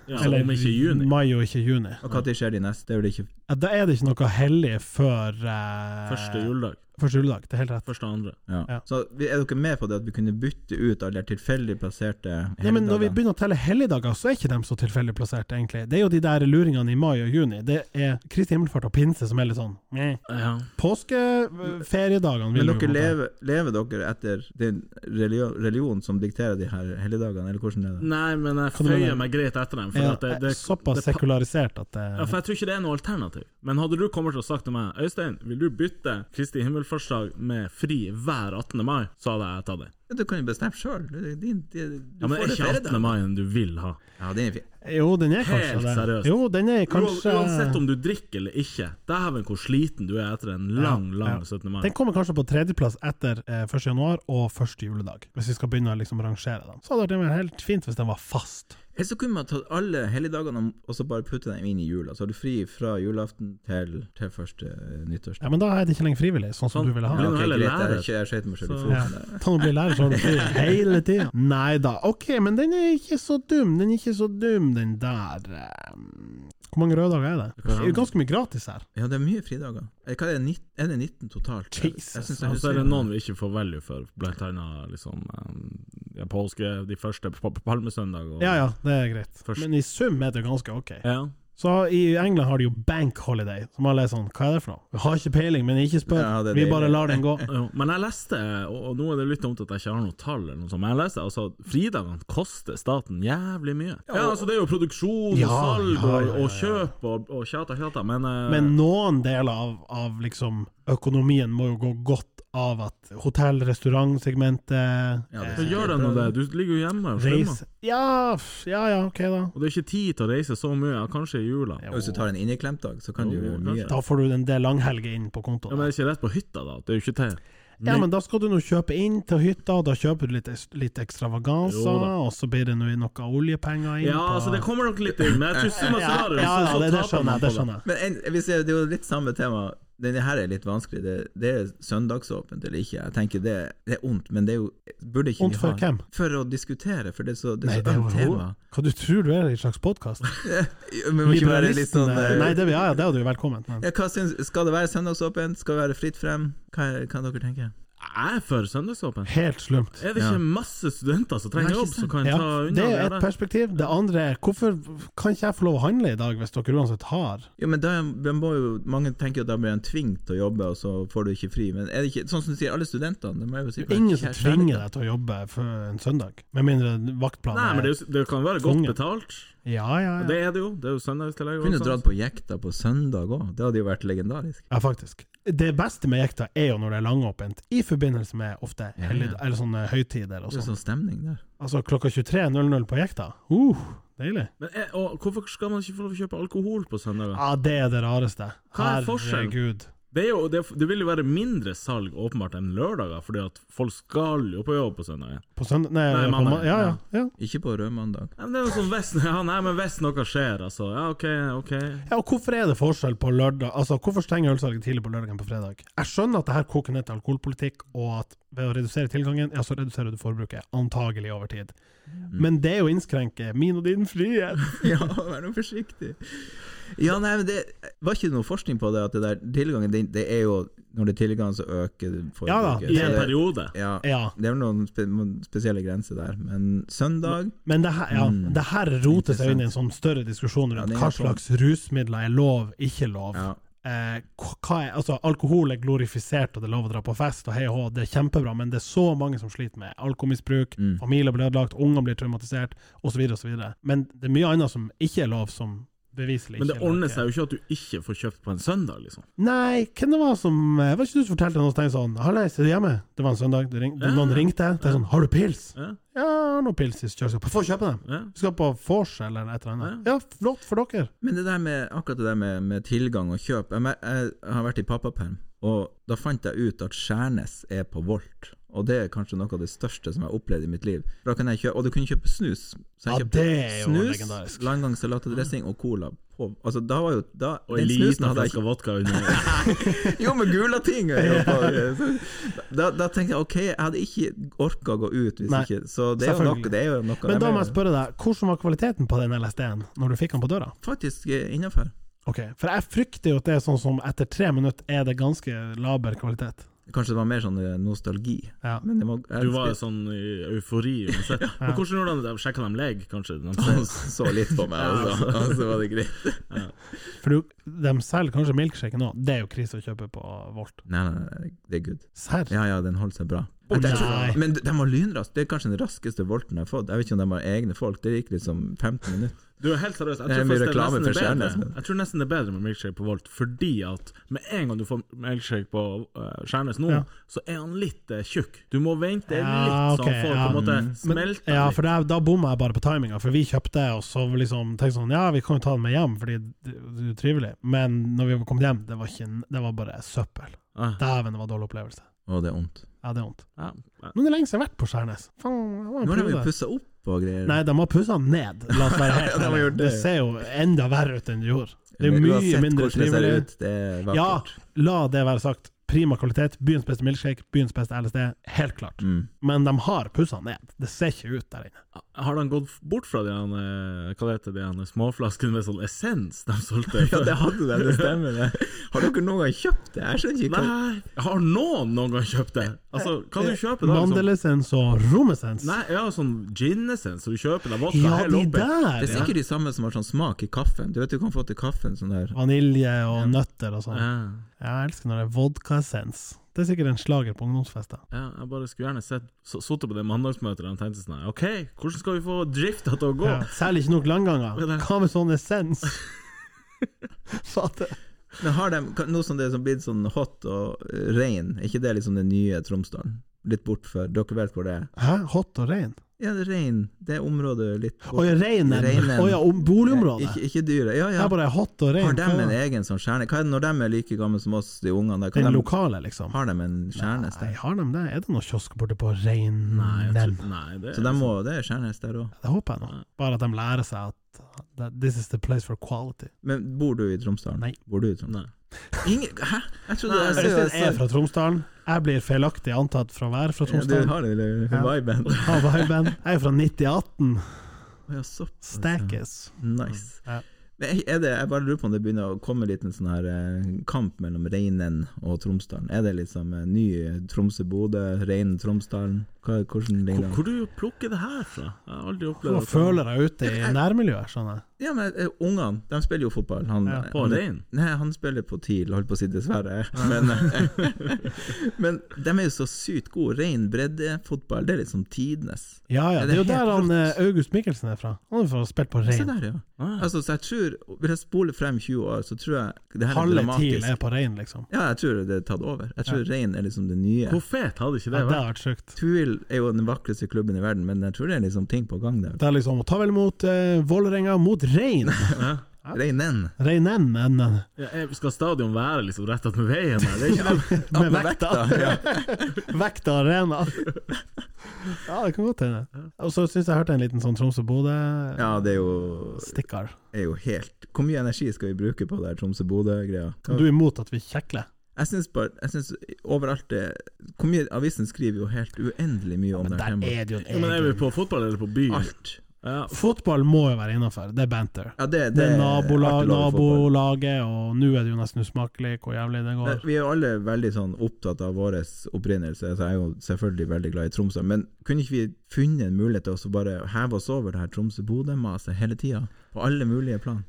Speaker 4: Ja, Eller om ikke i juni.
Speaker 3: Mai og ikke juni.
Speaker 5: Og når skjer de neste? Det er vel ikke
Speaker 3: Ja, da er det ikke noe hellig før eh,
Speaker 4: Første juledag.
Speaker 3: Første juledag, det er helt rett.
Speaker 4: Første og andre.
Speaker 5: Ja.
Speaker 3: Ja.
Speaker 5: Så vi- er dere med på det at vi kunne bytte ut alle de tilfeldig plasserte
Speaker 3: Ja, men når vi
Speaker 5: helligdager?
Speaker 3: begynner å telle helligdager, så er ikke de så tilfeldig plassert, egentlig. Det er jo de der luringene i mai og juni. Det er Kristi himmelfart og pinse som er litt sånn meh.
Speaker 4: Ja.
Speaker 3: Påskeferiedagene vil
Speaker 5: Men
Speaker 3: vi jo
Speaker 5: dere
Speaker 3: ta.
Speaker 5: lever, lever dere etter den religion, religion som dikterer de her helligdagene, eller hvordan er det?
Speaker 4: Nei, men jeg
Speaker 3: Hva du mener?
Speaker 4: føyer meg greit etter dem. For
Speaker 3: Ja,
Speaker 4: at det, det,
Speaker 3: såpass
Speaker 4: det, pa-
Speaker 3: sekularisert at det
Speaker 4: ja, for Jeg tror ikke det er noe alternativ. Men hadde du kommet til å sagt til meg Øystein, vil du bytte Kristi himmelfartsdag med fri hver 18. mai, så hadde jeg tatt det.
Speaker 5: Ja, Du kan jo bestemme sjøl. Du, det er din- det- du
Speaker 4: Ja, Men
Speaker 5: får
Speaker 4: er
Speaker 5: det
Speaker 4: ikke
Speaker 5: feire
Speaker 4: 18.
Speaker 5: da.
Speaker 4: mai en du vil ha?
Speaker 5: Ja, den er fin.
Speaker 3: Jo, den er kanskje
Speaker 4: Helt
Speaker 3: det.
Speaker 4: seriøst.
Speaker 3: Jo, den er kanskje
Speaker 4: Uan- Uansett om du drikker eller ikke. Dæven hvor sliten du er etter en lang, lang 17. mai.
Speaker 3: Den kommer kanskje på tredjeplass etter eh, 1. januar og første juledag, hvis vi skal begynne å liksom rangere dem. Så hadde det vært helt fint hvis den var fast.
Speaker 5: Eller så kunne man tatt alle helligdagene om- og så bare putte dem inn i jula. Så har du fri fra julaften til, til første eh, nyttårsdag.
Speaker 3: Ja, Men da er det ikke lenger frivillig, sånn som
Speaker 4: Sånn.
Speaker 3: du ville
Speaker 4: Ja,
Speaker 3: ha.
Speaker 4: nå
Speaker 5: ok,
Speaker 4: heller
Speaker 5: greit, jeg
Speaker 4: lærer.
Speaker 5: er ikke- jeg skøyt meg sjøl i
Speaker 4: Så-
Speaker 3: Ja.
Speaker 5: foten. der.
Speaker 3: Ta noe bli lærer, så har du fri hele tida. Nei da. Ok, men den er ikke så dum. Den er ikke så dum, den der. eh. Hvor mange røde dager er det? Det er jo ganske mye gratis her.
Speaker 5: Ja, det er mye fridager. Er, hva er, det, 19, er det 19 totalt?
Speaker 3: Jesus.
Speaker 5: Jeg synes jeg
Speaker 4: Og så
Speaker 5: husker-
Speaker 4: er det noen vi ikke får value for, blant annet liksom, eh, ja, påske, de første på på palmesøndag. Og,
Speaker 3: Ja ja, det er greit.
Speaker 4: Først.
Speaker 3: Men i sum er det jo ganske ok.
Speaker 4: Ja.
Speaker 3: Så i England har de jo bank holiday, som alle er sånn Hva er det for noe? Vi har ikke peiling, men ikke spør.
Speaker 5: Ja, det er
Speaker 3: vi
Speaker 5: det.
Speaker 3: bare lar den gå.
Speaker 4: Jo, men jeg leste, og og nå er det litt dumt at jeg ikke har noe tall, eller noe sånt, men jeg leste altså at fridagene koster staten jævlig mye. Ja, altså Det er jo produksjon og
Speaker 3: Ja,
Speaker 4: salg
Speaker 3: ja, ja, ja,
Speaker 4: og- og kjøp og, og tjata tjata, men, eh,
Speaker 3: Men noen deler av, av liksom økonomien må jo gå godt av at hotell, restaurantsegmentet
Speaker 5: Ja, det
Speaker 4: så gjør det nå det. Du ligger jo hjemme og slummer.
Speaker 3: Reis ja, f- ja ja, ok da.
Speaker 4: Og det er ikke tid til å reise så mye, ja, kanskje i jula.
Speaker 3: Jo.
Speaker 5: Hvis du tar en inneklemt dag, så kan du
Speaker 4: Jo,
Speaker 3: Oh,
Speaker 5: gjøre mye.
Speaker 3: Da får du en del langhelger inn på
Speaker 4: Ja,
Speaker 3: kontoen.
Speaker 4: men det er ikke rett på hytta, da. Det er jo ikke til.
Speaker 3: Ja, men da skal du nå kjøpe inn til hytta, og da kjøper du litt, litt ekstravaganser,
Speaker 4: Jo da.
Speaker 3: og så blir det nå noe oljepenger inn
Speaker 4: Ja,
Speaker 3: på
Speaker 4: altså det kommer nok litt inn, men jeg tror summa
Speaker 3: ja,
Speaker 4: summarum
Speaker 3: ja,
Speaker 4: så-
Speaker 3: ja,
Speaker 4: så
Speaker 3: det, det
Speaker 4: taper
Speaker 3: skjønner
Speaker 4: man
Speaker 3: jeg. Det
Speaker 4: på
Speaker 3: skjønner jeg.
Speaker 5: Men en, vi ser, det er jo litt samme tema. Denne her er litt vanskelig. Det, det er søndagsåpent eller ikke. Jeg tenker det, det er ondt, men det er jo burde ikke
Speaker 3: Ondt
Speaker 5: vi
Speaker 3: for
Speaker 5: ha-
Speaker 3: hvem?
Speaker 5: For å diskutere, for det er så det
Speaker 3: Nei,
Speaker 5: er
Speaker 3: det
Speaker 5: så
Speaker 3: er
Speaker 5: ømt tema.
Speaker 3: overhodet Hva du tror du er i en slags podkast?
Speaker 5: Ja, Men må ikke være litt sånn
Speaker 3: Liberalistene- Nei,
Speaker 5: eh,
Speaker 3: det, ja, ja, det er du jo velkommen. Men.
Speaker 5: ja, hva syns, Skal det være søndagsåpent? Skal det være fritt frem? Hva, er- hva dere tenker
Speaker 4: Jeg er for søndagsåpent.
Speaker 3: Helt slumt.
Speaker 4: Er det
Speaker 5: Ja.
Speaker 4: ikke masse studenter som trenger
Speaker 5: Nei, ikke
Speaker 4: jobb, som kan
Speaker 3: Ja,
Speaker 4: ta unna
Speaker 3: det er et
Speaker 4: det der?
Speaker 3: perspektiv. Det andre er hvorfor kan ikke jeg få lov å handle i dag, hvis dere uansett har?
Speaker 5: Jo, men da da må jo Mange tenker at da blir en tvunget til å jobbe, og så får du ikke fri. Men er det ikke sånn som du sier, alle studentene de er jo sikkert
Speaker 3: Ingen som
Speaker 5: kjære-
Speaker 3: tvinger deg til å jobbe for en søndag, med mindre
Speaker 4: Nei, men
Speaker 3: vaktplanen
Speaker 4: det, er, jo- det kan være godt
Speaker 3: Tvunget.
Speaker 4: betalt.
Speaker 3: Ja, ja,
Speaker 4: Og
Speaker 3: ja.
Speaker 4: Det er det jo. Det er jo søndagstillegg. og sånn.
Speaker 5: Kunne
Speaker 4: sånt.
Speaker 5: jo dratt på jekta på søndag òg. Det hadde jo vært legendarisk.
Speaker 3: ja, faktisk. Det beste med jekta er jo når det er langåpent, i forbindelse med ofte
Speaker 5: Ja, ja.
Speaker 3: hellig, eller sånne høytider og
Speaker 5: Det er
Speaker 3: sånn.
Speaker 5: sånn stemning der.
Speaker 3: Altså klokka 23.00 på jekta. Uh, deilig.
Speaker 4: Men er, og hvorfor skal man ikke få lov å kjøpe alkohol på søndager?
Speaker 3: Ja, det er det rareste.
Speaker 4: Hva er forskjellen?
Speaker 3: Herregud.
Speaker 4: Det, er jo, det, det vil jo være mindre salg åpenbart enn lørdager, fordi at folk skal jo på jobb på søndager.
Speaker 3: På søndag Nei,
Speaker 4: Nei,
Speaker 3: på
Speaker 4: mandag.
Speaker 3: ma- ja, ja, ja.
Speaker 5: Ikke på rød mandag.
Speaker 4: Ja, men det er jo sånn hvis, ja, nei, men hvis noe skjer, altså. Ja, OK, OK.
Speaker 3: Ja, og Hvorfor er det forskjell på lørdag Altså, Hvorfor stenger ølsalget tidlig på lørdag enn på fredag? Jeg skjønner at det her koker ned til alkoholpolitikk, og at ved å redusere tilgangen, ja, så reduserer du forbruket, antagelig over tid.
Speaker 5: Mm.
Speaker 3: Men det er jo å innskrenke min og din frihet.
Speaker 5: Ja, vær nå forsiktig. Ja, nei, men det Var ikke det noe forskning på det, at det der tilgangen, det, det er jo Når det er tilgang, så øker
Speaker 3: Ja da,
Speaker 5: forbruket.
Speaker 4: I
Speaker 5: Så
Speaker 4: en
Speaker 5: det-
Speaker 4: periode.
Speaker 5: Ja,
Speaker 3: Ja,
Speaker 5: det er vel noen spe, noen spesielle grenser der, men søndag
Speaker 3: men det her, ja,
Speaker 5: Mm.
Speaker 3: det her roter seg inn i en sånn større diskusjon
Speaker 5: Ja,
Speaker 3: rundt
Speaker 5: det er
Speaker 3: hva
Speaker 5: sånn.
Speaker 3: slags rusmidler er lov, ikke lov.
Speaker 5: ja.
Speaker 3: Eh, hva hva er, altså, alkohol er glorifisert, og det er lov å dra på fest, og hei og hå, det er kjempebra, men det er så mange som sliter med alkoholmisbruk,
Speaker 5: Mm.
Speaker 3: familier blir ødelagt, unger blir traumatisert, osv., osv. Men det er mye annet som ikke er lov, som beviselig ikke
Speaker 4: Men det
Speaker 3: er lov.
Speaker 4: ordner seg jo ikke at du ikke får kjøpt på en søndag, liksom.
Speaker 3: Nei, hvem det var som eh, Var ikke du som fortalte noe sånt sånn 'Hallais, er du hjemme?' Det var en søndag, det ring,
Speaker 4: Ja.
Speaker 3: noen ringte, det er sånn 'Har du pils?'
Speaker 4: Ja,
Speaker 3: 'Ja, jeg har noe pils i kjøleskapet.' 'Få kjøpe dem.'
Speaker 4: ja.
Speaker 3: Vi skal på vors eller et eller annet. Ja, flott for dere.
Speaker 5: Men det der med, akkurat det der med, med tilgang og kjøp jeg, mer- jeg har vært i pappaperm, og da fant jeg ut at Skjærnes er på Volt. Og det er kanskje noe av det største som jeg har opplevd i mitt liv. For Da kan jeg kjøpe, og du kunne kjøpe snus. Så
Speaker 3: Ja,
Speaker 5: jeg kjøpte
Speaker 3: det er jo
Speaker 5: snus,
Speaker 3: legendarisk.
Speaker 5: langgang salatdressing og cola. På, altså da var jo da,
Speaker 4: Og
Speaker 5: Den
Speaker 4: en
Speaker 5: snusen
Speaker 4: liten
Speaker 5: hadde jeg
Speaker 4: flaske
Speaker 5: ikke
Speaker 4: vodka under.
Speaker 5: Jo, med gula ting! jeg jobbet på. eh, Da, da tenkte jeg ok, jeg hadde ikke orka å gå ut hvis
Speaker 3: Nei,
Speaker 5: ikke Så det er jo
Speaker 3: selvfølgelig.
Speaker 5: noe. Det er jo noe
Speaker 3: Men da må jeg
Speaker 5: mener.
Speaker 3: spørre deg, hvordan var kvaliteten på den LSD-en når du fikk den på døra?
Speaker 5: Faktisk eh, innafor.
Speaker 3: Ok, For jeg frykter jo at det er sånn som etter tre minutter er det ganske laber kvalitet.
Speaker 5: Kanskje det var mer sånn eh, nostalgi.
Speaker 3: Ja.
Speaker 5: Men det var, jeg
Speaker 4: Du var jo sånn i eufori uansett. Men hvordan gjorde han det? Sjekka de leg, kanskje? De
Speaker 5: Han
Speaker 4: ser-
Speaker 5: så litt på meg, og så, og så var det greit.
Speaker 3: For du, de selger kanskje milkshake nå, det er jo krise å kjøpe på Volt.
Speaker 5: Nei, nei, nei, det er good.
Speaker 3: Serr?
Speaker 5: Ja, ja, den holder seg bra.
Speaker 3: Å,
Speaker 5: Jeg tror-
Speaker 3: nei.
Speaker 5: men de var lynraske. Det er kanskje den raskeste volten jeg har fått. Jeg vet ikke om de har egne folk. Det gikk liksom 15 minutter.
Speaker 4: Du er helt seriøs. Jeg
Speaker 5: Det
Speaker 4: tror,
Speaker 5: er mye
Speaker 4: faktisk det nesten
Speaker 5: reklame for
Speaker 4: er bedre.
Speaker 5: Stjernes.
Speaker 4: jeg tror nesten det er bedre med milkshake på Volt, fordi at med en gang du får milkshake på eh, Stjernes nå,
Speaker 3: Ja.
Speaker 4: så er han litt eh, tjukk. Du må vente litt,
Speaker 3: Ja,
Speaker 4: så
Speaker 3: ok,
Speaker 4: han
Speaker 3: ja.
Speaker 4: får på en måte
Speaker 3: Men,
Speaker 4: smelta
Speaker 3: ja,
Speaker 4: litt.
Speaker 3: for da, da bomma jeg bare på timinga, for vi kjøpte, og så liksom tenkte sånn Ja, vi kan jo ta den med hjem, fordi det det er jo trivelig. Men når vi var kommet hjem, det var, ikke, det var bare søppel.
Speaker 4: Ah,
Speaker 3: Dæven, det var en dårlig opplevelse.
Speaker 5: Å, det er vondt.
Speaker 3: Ja, det er vondt.
Speaker 4: ja. ja.
Speaker 3: Nå er det lenge siden jeg har vært på Skjærnes. Faen, det var en
Speaker 5: Nå har de jo
Speaker 3: periode.
Speaker 5: pussa opp og greier.
Speaker 3: Nei, de har pussa den ned, la oss være helt
Speaker 5: Ja, de har
Speaker 3: ærlige.
Speaker 5: gjort
Speaker 3: Det
Speaker 5: det.
Speaker 3: ser jo enda verre ut enn det gjorde. Det er
Speaker 5: Men
Speaker 3: mye
Speaker 5: uansett
Speaker 3: mindre
Speaker 5: hvordan det ser
Speaker 3: trivelig.
Speaker 5: ut, det er
Speaker 3: Ja,
Speaker 5: vakkert.
Speaker 3: la det være sagt. Prima kvalitet, byens beste milkshake, byens beste LSD, helt klart.
Speaker 5: Mm.
Speaker 3: Men de har pussa ned. Det ser ikke ut der inne.
Speaker 4: Har de gått bort fra de han, eh, hva det heter, de han småflaskene med sånn essens de solgte?
Speaker 5: Ja, det hadde de, det stemmer det. Har dere noen gang kjøpt det? Jeg skjønner ikke hva
Speaker 4: Nei! Har noen noen gang kjøpt det? Altså, hva du kjøper da?
Speaker 5: sånn-
Speaker 4: Liksom?
Speaker 3: Mandelessens og romessens.
Speaker 4: Nei, ja, sånn gin-essens, så du kjøper deg vodka
Speaker 3: Ja,
Speaker 4: helt
Speaker 3: de
Speaker 4: oppi.
Speaker 5: Det
Speaker 3: der!
Speaker 5: er
Speaker 3: Ja.
Speaker 5: sikkert de samme som har sånn smak i kaffen. Du vet du kan få til kaffen sånn der
Speaker 3: Vanilje og nøtter og sånn.
Speaker 4: Ja,
Speaker 3: Jeg elsker når det er vodkaessens. Det er sikkert en slager på ungdomsfester.
Speaker 4: ja, jeg bare skulle gjerne sett så- Sittet på det mandagsmøtet og tenkt sånn her, OK, hvordan skal vi få drifta til å gå?
Speaker 3: Ja. Særlig ikke nok langganger.
Speaker 4: Men det-
Speaker 3: Hva med sånn essens? Fader.
Speaker 5: Men har de kan- Nå som det er sånn blitt sånn hot og eh, rein, er ikke det liksom den nye Tromsdalen? Litt bort for Dere vet hvor det er?
Speaker 3: Hæ? Hot og rein?
Speaker 5: Ja, det er rein. Det området er litt
Speaker 3: Å ja, reinen!
Speaker 5: Reinen.
Speaker 3: Å ja, om boligområdet!
Speaker 5: Ikke, ikke dyret. Ja,
Speaker 3: Det
Speaker 5: ja.
Speaker 3: er bare hot og rein.
Speaker 5: Har de en egen sånn stjerne? Hva er det når de er like gamle som oss, de ungene der? Kan
Speaker 3: Den
Speaker 5: de-
Speaker 3: lokale, liksom.
Speaker 5: Har de en stjernes
Speaker 3: Nei,
Speaker 5: der?
Speaker 3: har de det? Er det noen kiosker borte på Reinen?
Speaker 4: Nei, jeg tror, nei det liksom-
Speaker 5: Så de
Speaker 3: sånn-
Speaker 5: må, det er stjernes der òg.
Speaker 3: Det håper jeg nå. Bare at de lærer seg at that this is the place for quality.
Speaker 5: Men bor du i Tromsdalen?
Speaker 3: Nei.
Speaker 5: Bor du i Tromsdalen?
Speaker 4: Nei.
Speaker 5: Ingen, hæ? Jeg trodde
Speaker 4: Nei,
Speaker 5: jeg ser-
Speaker 3: Øystein
Speaker 5: jeg
Speaker 3: er
Speaker 5: ser-
Speaker 3: fra Tromsdalen. Jeg blir feilaktig antatt fra å være fra
Speaker 5: Ja, Du
Speaker 3: Tromsdalen.
Speaker 5: har den eh,
Speaker 3: Ja.
Speaker 5: viben.
Speaker 3: Av viben. Jeg er fra 9018.
Speaker 5: Ja, så
Speaker 3: Stackes.
Speaker 5: nice.
Speaker 3: Ja.
Speaker 5: Men er det, jeg bare lurer på om det begynner å komme litt en sånn her eh, kamp mellom Reinen og Tromsdalen. Er det liksom eh, ny Tromsø-Bodø, Reinen Tromsdalen? Hva, hvordan
Speaker 4: Hvor,
Speaker 5: ligner det?
Speaker 4: hvor du plukker det her fra? Jeg har aldri
Speaker 3: Du
Speaker 4: opplevd
Speaker 3: føler deg ute i nærmiljøet, skjønner jeg.
Speaker 5: Ja, men eh, ungene, de spiller jo fotball. Han,
Speaker 3: Ja,
Speaker 4: på
Speaker 5: han,
Speaker 4: rein.
Speaker 5: Nei, han spiller på TIL, holdt på å si dessverre. Men, eh, men de er jo så sykt gode. Rein breddefotball, det er liksom tidenes.
Speaker 3: Ja ja,
Speaker 5: Ja,
Speaker 3: det er jo
Speaker 5: det er
Speaker 3: der
Speaker 5: helt
Speaker 3: han eh, August Mikkelsen er fra. Han er fra å spille på
Speaker 5: Se
Speaker 3: rein.
Speaker 5: der, ja.
Speaker 4: Ah,
Speaker 5: Altså, så jeg tror, Hvis jeg spoler frem 20 år, så tror jeg det her er
Speaker 3: Halve TIL
Speaker 5: dramatisk.
Speaker 3: er på rein, liksom.
Speaker 5: Ja, jeg tror det er tatt over. Jeg tror Rein er liksom det nye.
Speaker 4: hvor fet hadde ikke
Speaker 3: Ja,
Speaker 4: det
Speaker 3: det
Speaker 4: vært?
Speaker 3: har vært sjukt.
Speaker 5: TUIL er jo den vakreste klubben i verden, men jeg tror det er liksom ting på gang der.
Speaker 3: Det er liksom å ta vel imot eh, Vålerenga mot rein.
Speaker 5: Reinen!
Speaker 3: Reinen, men eh,
Speaker 4: Ja, jeg- skal stadion være liksom rett ved veien her? Det er ikke det.
Speaker 3: med vekta. Vekta arena. Ja, det kan godt hende. Og så syns jeg jeg hørte en liten sånn Tromsø-Bodø-stikker.
Speaker 5: Ja, det er jo, er jo helt Hvor mye energi skal vi bruke på det her Tromsø-Bodø-greia?
Speaker 3: Du er imot at vi kjekler?
Speaker 5: Jeg syns bare jeg synes overalt det Hvor mye Avisen skriver jo helt uendelig mye om
Speaker 3: Men
Speaker 5: det
Speaker 3: der
Speaker 5: her temaet.
Speaker 3: er det jo
Speaker 4: Ja, Men er
Speaker 3: en
Speaker 4: vi
Speaker 3: egen
Speaker 4: på fotball eller på by?
Speaker 5: Alt.
Speaker 4: Ja,
Speaker 3: Fotball må jo være innafor, det er banter.
Speaker 5: Ja, det, det,
Speaker 3: Det er
Speaker 5: artig
Speaker 3: nabolag,
Speaker 5: lag å fotball.
Speaker 3: nabolaget, og nå er det jo nesten usmakelig hvor jævlig det går.
Speaker 5: Vi er jo alle veldig sånn opptatt av vår opprinnelse, så jeg er jo selvfølgelig veldig glad i Tromsø. Men kunne ikke vi funnet en mulighet til å så bare heve oss over det her Tromsø-Bodø-maset hele tida? På alle mulige plan?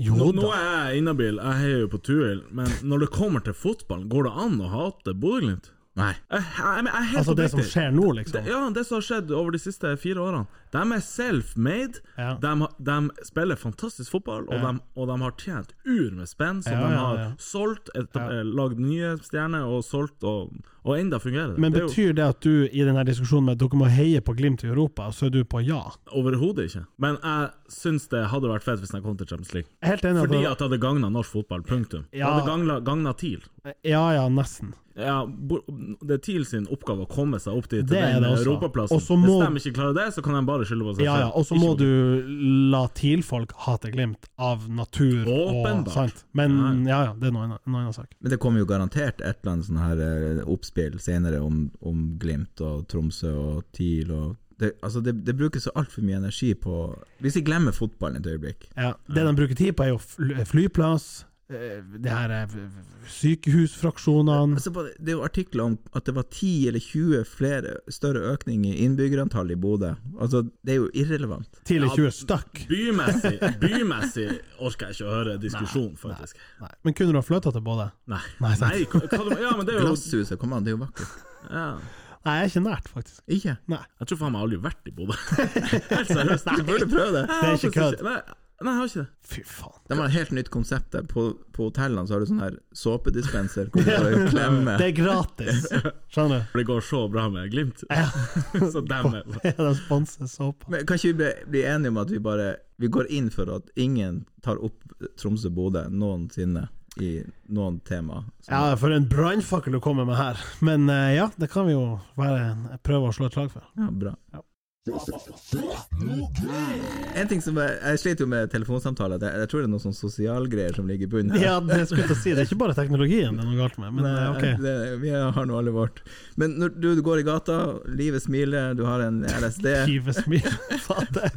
Speaker 3: Jo
Speaker 4: Nå, nå
Speaker 3: da.
Speaker 4: er jeg inhabil, jeg heier jo på Tuil, men når det kommer til fotballen, går det an å hate Bodø-Glimt?
Speaker 5: Nei.
Speaker 4: Jeg, jeg, jeg er helt
Speaker 3: Altså det som
Speaker 4: oppriktig.
Speaker 3: skjer nå, liksom.
Speaker 4: Det- Ja, det som har skjedd over de siste fire årene. De er self-made.
Speaker 3: Ja.
Speaker 4: De, har- de spiller fantastisk fotball, og,
Speaker 3: Ja.
Speaker 4: de, og de har tjent ur med spenn, som
Speaker 3: Ja,
Speaker 4: de
Speaker 3: ja,
Speaker 4: har
Speaker 3: ja.
Speaker 4: solgt, et, eh, lagd nye stjerner og solgt, og, og enda fungerer det.
Speaker 3: Men
Speaker 4: det er jo
Speaker 3: betyr det at du i denne diskusjonen med at dere må heie på Glimt i Europa, så er du på ja?
Speaker 4: overhodet ikke. Men jeg syns det hadde vært fett hvis de kom til Champions League.
Speaker 3: Jeg er Helt enig.
Speaker 4: Fordi
Speaker 3: at-
Speaker 4: at det hadde gagna norsk fotball, punktum. Det
Speaker 3: Ja.
Speaker 4: hadde gagna- gagna TIL.
Speaker 3: Ja ja, nesten.
Speaker 4: Ja, bo- det er TIL sin oppgave å komme seg opp dit,
Speaker 3: Det
Speaker 4: til
Speaker 3: er
Speaker 4: den
Speaker 3: det også.
Speaker 4: europaplassen.
Speaker 3: Og så må-
Speaker 4: Hvis de ikke klarer det, så kan de bare skylde på seg
Speaker 3: Ja, ja, og så
Speaker 4: Ikke
Speaker 3: må
Speaker 4: på-
Speaker 3: du la TIL-folk hate Glimt av natur og
Speaker 4: Åpenbart.
Speaker 3: sant. Men ja, ja, det er noe annet- en annen sak.
Speaker 5: Men det kommer jo garantert et eller annet sånn her eh, oppspill senere om, om Glimt og Tromsø og TIL og det, altså det, det brukes så altfor mye energi på Hvis vi glemmer fotballen et øyeblikk
Speaker 3: Ja. Det de bruker tid på, er jo fl- flyplass, eh, det her eh, sykehusfraksjonene
Speaker 5: Altså, bare- det er jo artikler om at det var 10 eller 20 flere større økning i innbyggerantall i Bodø. Altså, det er jo irrelevant.
Speaker 3: Tidlig 20 stykk.
Speaker 4: Bymessig bymessig orker jeg ikke å høre diskusjon, faktisk.
Speaker 3: Nei, Men kunne du ha flytta til Bodø?
Speaker 4: Nei.
Speaker 3: Nei, sant.
Speaker 4: Nei, hva- hva du- ja, men det er jo
Speaker 5: Glasshuset, kom an, det er jo vakkert.
Speaker 4: ja.
Speaker 3: Nei, jeg er ikke nært, faktisk.
Speaker 5: Ikke?
Speaker 3: Nei.
Speaker 4: Jeg tror faen meg aldri vært i Bodø. Helt seriøst.
Speaker 5: Du burde prøve det.
Speaker 4: Jeg har
Speaker 3: ikke
Speaker 4: faktisk
Speaker 3: kødd.
Speaker 4: Nei, nei, jeg har ikke det.
Speaker 3: Fy faen.
Speaker 5: De har et helt nytt konsept der. På, på hotellene så har du sånn her såpedispenser. Hvor du bare klemmer
Speaker 3: Det er gratis, skjønner du?
Speaker 4: For det går så bra med Glimt.
Speaker 3: Ja.
Speaker 4: Så dem er
Speaker 3: De sponser såpa.
Speaker 5: Men Kan ikke vi bli, bli enige om at vi bare Vi går inn for at ingen tar opp Tromsø-Bodø noensinne i noen tema? Så-
Speaker 3: Ja, for en brannfakkel du kommer med her. Men eh, ja, det kan vi jo være en, prøve å slå et slag for.
Speaker 5: Ja, bra. En ting som Jeg, jeg sliter jo med telefonsamtaler. at Jeg, jeg tror det er noen sånn sosialgreier som ligger i bunnen. her.
Speaker 3: Ja, det skulle jeg til å si. Det er ikke bare teknologien det er noe galt med, men eh,
Speaker 5: Nei,
Speaker 3: ok.
Speaker 5: det, vi har nå alle vårt. Men når du, du går i gata, livet smiler, du har en LSD
Speaker 3: Tyve smil. Faen, det-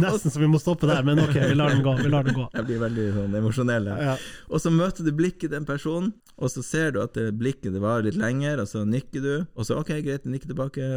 Speaker 3: Nesten så vi må stoppe der, men ok, vi lar den gå. Vi lar den gå.
Speaker 5: Jeg blir veldig sånn emosjonell. her.
Speaker 3: Ja.
Speaker 5: Og så møter du blikket til en person, og så ser du at det blikket det varer litt lenger, og så nikker du, og så ok, greit, nikker tilbake,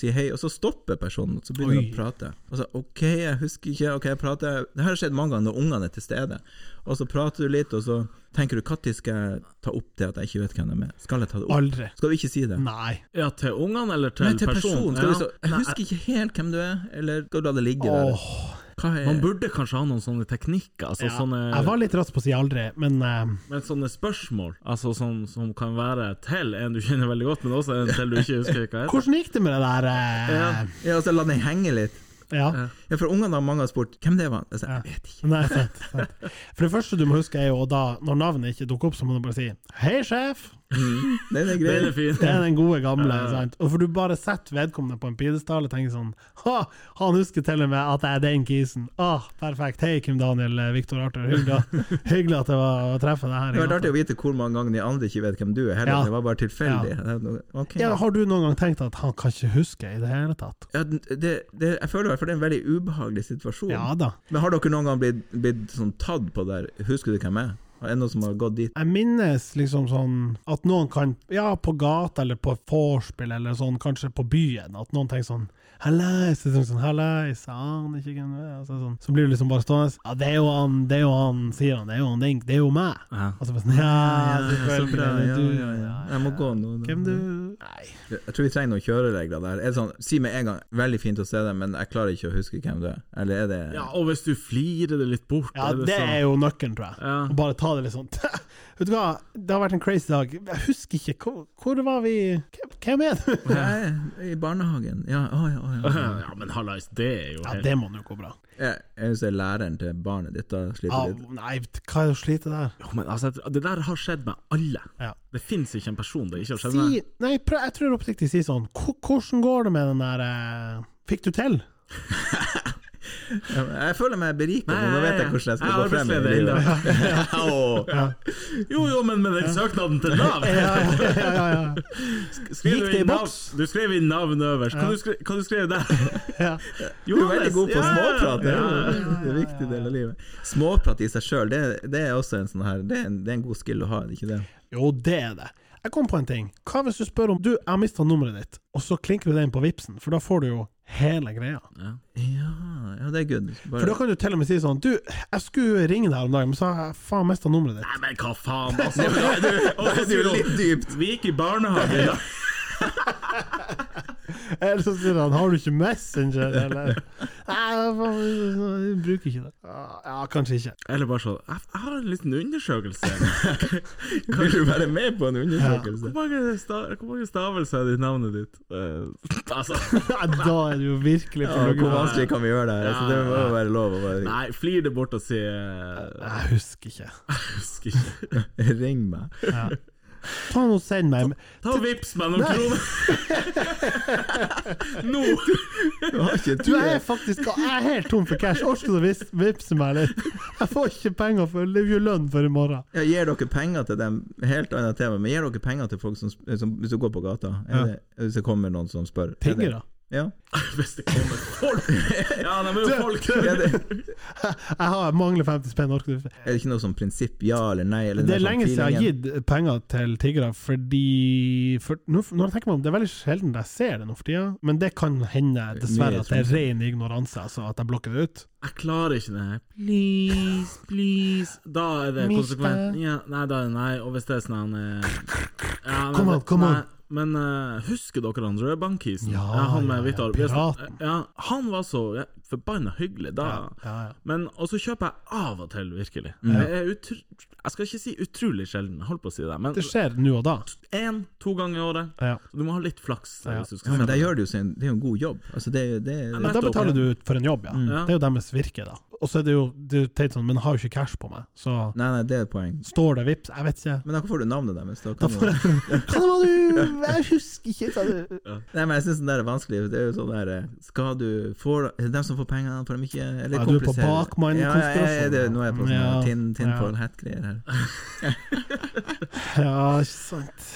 Speaker 5: sier hei, og så stopper personen, og så begynner
Speaker 3: Oi.
Speaker 5: du å prate. Og så ok, jeg husker ikke, ok, jeg prater Det her har skjedd mange ganger når ungene er til stede, og så prater du litt, og så tenker du når skal jeg ta opp det at jeg ikke vet hvem de er? Skal jeg ta det opp?
Speaker 3: Aldri.
Speaker 5: Skal du ikke si det?
Speaker 3: Nei.
Speaker 4: Ja, til ungene eller til,
Speaker 5: Nei, til personen. Skal du
Speaker 4: Ja.
Speaker 5: så, jeg husker ikke helt hvem du er, eller skal du la det ligge der?
Speaker 3: Åh.
Speaker 5: Hva er
Speaker 4: Man burde kanskje ha noen sånne teknikker, altså
Speaker 3: Ja. Jeg
Speaker 4: sånne,
Speaker 3: var litt rask på å si aldri, men eh,
Speaker 4: men sånne spørsmål altså som, som kan være til en du kjenner veldig godt, men også en til du ikke husker hva heter.
Speaker 3: hvordan gikk det med det der eh,
Speaker 5: Ja, altså, la den henge litt.
Speaker 3: Ja.
Speaker 5: Ja, for ungene har mange har spurt hvem det var. Jeg, sa,
Speaker 3: Ja.
Speaker 5: jeg vet ikke.
Speaker 3: Nei, sant, sant. For det første du må huske, er jo da, når navnet ikke dukker opp, så må du bare si 'Hei, sjef'.
Speaker 5: Den er grei.
Speaker 4: Den er fin.
Speaker 3: Det er den gode gamle. sant? Og for du bare setter vedkommende på en pidestall og tenker sånn ha, Han husker til og med at jeg er den kisen. Ah, perfekt. Hei, Kim Daniel, eh, Viktor Arthur. Hyggelig, hyggelig at det var å treffe deg her.
Speaker 5: Det
Speaker 3: i
Speaker 5: hadde vært
Speaker 3: gata.
Speaker 5: artig å vite hvor mange ganger de andre ikke vet hvem du er, heller.
Speaker 3: Ja.
Speaker 5: Det var bare tilfeldig. Ok.
Speaker 3: Ja, har du noen gang tenkt at han kan ikke huske i det hele tatt?
Speaker 5: Ja, den- det, det, jeg føler i hvert fall det er en veldig ubehagelig situasjon.
Speaker 3: Ja da.
Speaker 5: Men har dere noen gang blitt, blitt sånn tatt på der? Husker du hvem jeg er? Er det noen som har gått dit?
Speaker 3: Jeg minnes liksom sånn at noen kan, ja, på gata eller på vorspiel eller sånn, kanskje på byen, at noen tenker sånn Hallais! Så tenker jeg Sånn, Hallais, jeg aner ikke hvem du er. og så er det sånn. Så blir du liksom bare stående Ja, det er jo han, det er jo han, sier han. Det er jo han, det er- det er jo meg.
Speaker 4: Ja.
Speaker 3: Og så bare sånn Ja, selvfølgelig. det er
Speaker 5: ja,
Speaker 3: du,
Speaker 5: ja, ja. Jeg må gå nå.
Speaker 3: Hvem du Nei.
Speaker 5: Jeg tror vi trenger noen kjøreregler der. Er det sånn, si med en gang 'veldig fint å se deg', men jeg klarer ikke å huske hvem du er. Eller er det
Speaker 4: Ja, og hvis du flirer det litt bort
Speaker 3: Ja, det er jo nøkkelen, tror jeg.
Speaker 4: Ja.
Speaker 3: Å Bare ta det litt sånn Vet du hva, det har vært en crazy dag. Jeg husker ikke. Hvor, hvor var vi Hvem- Hvem er du?
Speaker 5: Jeg er I barnehagen. Ja, å ja, å ja.
Speaker 4: Ja, men hallais, det er jo
Speaker 3: Ja,
Speaker 4: helt
Speaker 3: det må nå gå bra.
Speaker 5: Jeg, jeg vil si læreren til barnet ditt da
Speaker 3: Ja,
Speaker 5: sliter litt.
Speaker 3: nei, hva er det å slite der?
Speaker 4: Jo, men altså, Det der har skjedd med alle.
Speaker 3: Ja.
Speaker 4: Det fins ikke en person det ikke har skjedd
Speaker 3: Si,
Speaker 4: med.
Speaker 3: nei, prøv, jeg tror oppriktig si sånn "Ko- Hvordan går det med den der eh, Fikk du til?
Speaker 5: Ja, men Jeg føler meg berika,
Speaker 4: Nei,
Speaker 5: nå nå vet
Speaker 4: ja,
Speaker 5: jeg hvordan jeg skal
Speaker 4: ja.
Speaker 5: gå frem i
Speaker 4: Jeg er
Speaker 5: livet.
Speaker 4: arbeidsleder Jo, jo, men med den søknaden til Nav!
Speaker 3: Ja, ja, ja, ja,
Speaker 4: Skrev
Speaker 3: Gikk
Speaker 4: du
Speaker 3: det i
Speaker 4: inn navn-
Speaker 3: boks?
Speaker 4: Du skrev inn navn øverst. Hva du skrev, hva du skrev der?
Speaker 3: ja.
Speaker 5: Du er veldig god på
Speaker 4: Ja, ja, ja.
Speaker 5: småprat, det er
Speaker 4: Ja, ja, ja.
Speaker 5: jo en viktig del av livet. Småprat i seg sjøl, det, det er også en sånn her det er en, det er en god skill å ha, er det ikke det?
Speaker 3: Jo, det er det. Jeg kom på en ting. Hva hvis du spør om Du, jeg har mista nummeret ditt, og så klinker du den på vipsen, for da får du jo hele greia.
Speaker 5: Ja, ja det er good.
Speaker 3: For da
Speaker 5: Bare,
Speaker 3: kan du til og med si sånn Du, jeg skulle ringe deg her om dagen, men så har jeg faen mista nummeret ditt.
Speaker 4: Nei, men hva faen, altså! Du,
Speaker 5: det er jo litt dypt.
Speaker 4: Vi gikk i barnehagen. da.
Speaker 3: Eller så sier han Har du ikke Messenger, eller? Nei, jeg faen, jeg bruker ikke det. Ja, kanskje ikke.
Speaker 4: Eller bare sånn Jeg jeg har en liten undersøkelse.
Speaker 5: Vil du være med på en undersøkelse?
Speaker 4: Hvor mange, sta hvor mange stavelser er det i navnet ditt? Eh, altså
Speaker 3: Nei, da er du jo virkelig
Speaker 5: Ja, hvor
Speaker 3: på noe.
Speaker 5: vanskelig kan vi gjøre det her? Altså, det må jo være lov å bare
Speaker 4: Nei, flir det bort og si eh,
Speaker 3: Jeg husker ikke.
Speaker 4: Jeg husker ikke.
Speaker 5: Ring meg.
Speaker 3: Ta nå send meg
Speaker 4: Ta og vips meg noen kroner! Nå!
Speaker 5: Du har ikke
Speaker 3: Du
Speaker 5: tur.
Speaker 3: jeg er faktisk jeg er helt tom for cash. Orker du å vis- vippse meg litt? Jeg får ikke penger for det er jo lønn for i morgen.
Speaker 5: Ja, gir dere penger til dem? Helt annet tema, men gir dere penger til folk som, som hvis du går på gata? Er
Speaker 3: Ja.
Speaker 5: det, hvis det kommer noen som spør? er det-
Speaker 3: Tiggere?
Speaker 5: Ja.
Speaker 4: Hvis det kommer folk! Ja, de er jo folk!
Speaker 5: Ja, det,
Speaker 3: Jeg har mangler 50 spenn. orker du?
Speaker 5: er det ikke noe sånn prinsipp ja eller nei? Eller
Speaker 3: Det
Speaker 5: den
Speaker 3: er
Speaker 5: der
Speaker 3: lenge
Speaker 5: sånn
Speaker 3: siden jeg har
Speaker 5: feelingen?
Speaker 3: gitt penger til tiggere, fordi for, nå, når jeg tenker meg om, Det er veldig sjelden jeg ser det nå for tida, men det kan hende dessverre at det
Speaker 5: sånn.
Speaker 3: er ren ignoranse, altså at jeg blokker det ut.
Speaker 4: Jeg klarer ikke det her. Please, please. Da er det
Speaker 3: Mister.
Speaker 4: konsekvent. Ja, nei, da er det nei. Og hvis det er sånn han eh, ja, men-
Speaker 3: Come on, come on.
Speaker 4: nei, Men eh, husker dere han Rød Bankisen?
Speaker 3: Ja,
Speaker 4: han
Speaker 3: ja,
Speaker 4: med hvitt hår. Vi-
Speaker 3: piraten.
Speaker 4: Ja, han var så ja, forbanna hyggelig da.
Speaker 3: ja, ja.
Speaker 4: Men, og så kjøper jeg av og til, virkelig. Jeg, er utr jeg skal ikke si utrolig sjelden, jeg holdt på å si det, men
Speaker 3: Det skjer nå og da.
Speaker 4: én-to ganger i året.
Speaker 3: Ja.
Speaker 4: Du må ha litt flaks.
Speaker 3: Ja.
Speaker 4: Hvis du
Speaker 5: Ja,
Speaker 4: skal
Speaker 5: men det gjør det jo sin, det er jo en god jobb. Altså, det, er jo- det,
Speaker 4: Ja,
Speaker 3: Men
Speaker 4: men-
Speaker 3: da betaler du ut for en jobb, ja.
Speaker 4: Ja.
Speaker 3: Det er jo deres virke, da. Og så er det jo det er jo teit sånn, men har jo ikke cash på meg,
Speaker 4: Mm.
Speaker 3: så
Speaker 5: nei, nei, det er et poeng.
Speaker 3: står det vips, jeg vet ikke.
Speaker 5: Men da får du navnet deres. Da kan
Speaker 3: Da
Speaker 5: du-
Speaker 3: får jeg Hva var du Jeg husker ikke, sa du.
Speaker 5: Nei, men jeg syns den der er vanskelig. for Det er jo sånn der eh, Skal du får, De som får pengene, får de ikke Eller
Speaker 3: Ja, du er på
Speaker 5: kompliserer.
Speaker 3: bakmann-
Speaker 5: Ja, ja, ja, ja, det, nå er jeg på sånn
Speaker 3: Ja,
Speaker 5: ja, tin, tin
Speaker 3: ja.
Speaker 5: foil hat-greier her.
Speaker 3: Ja, ikke sant.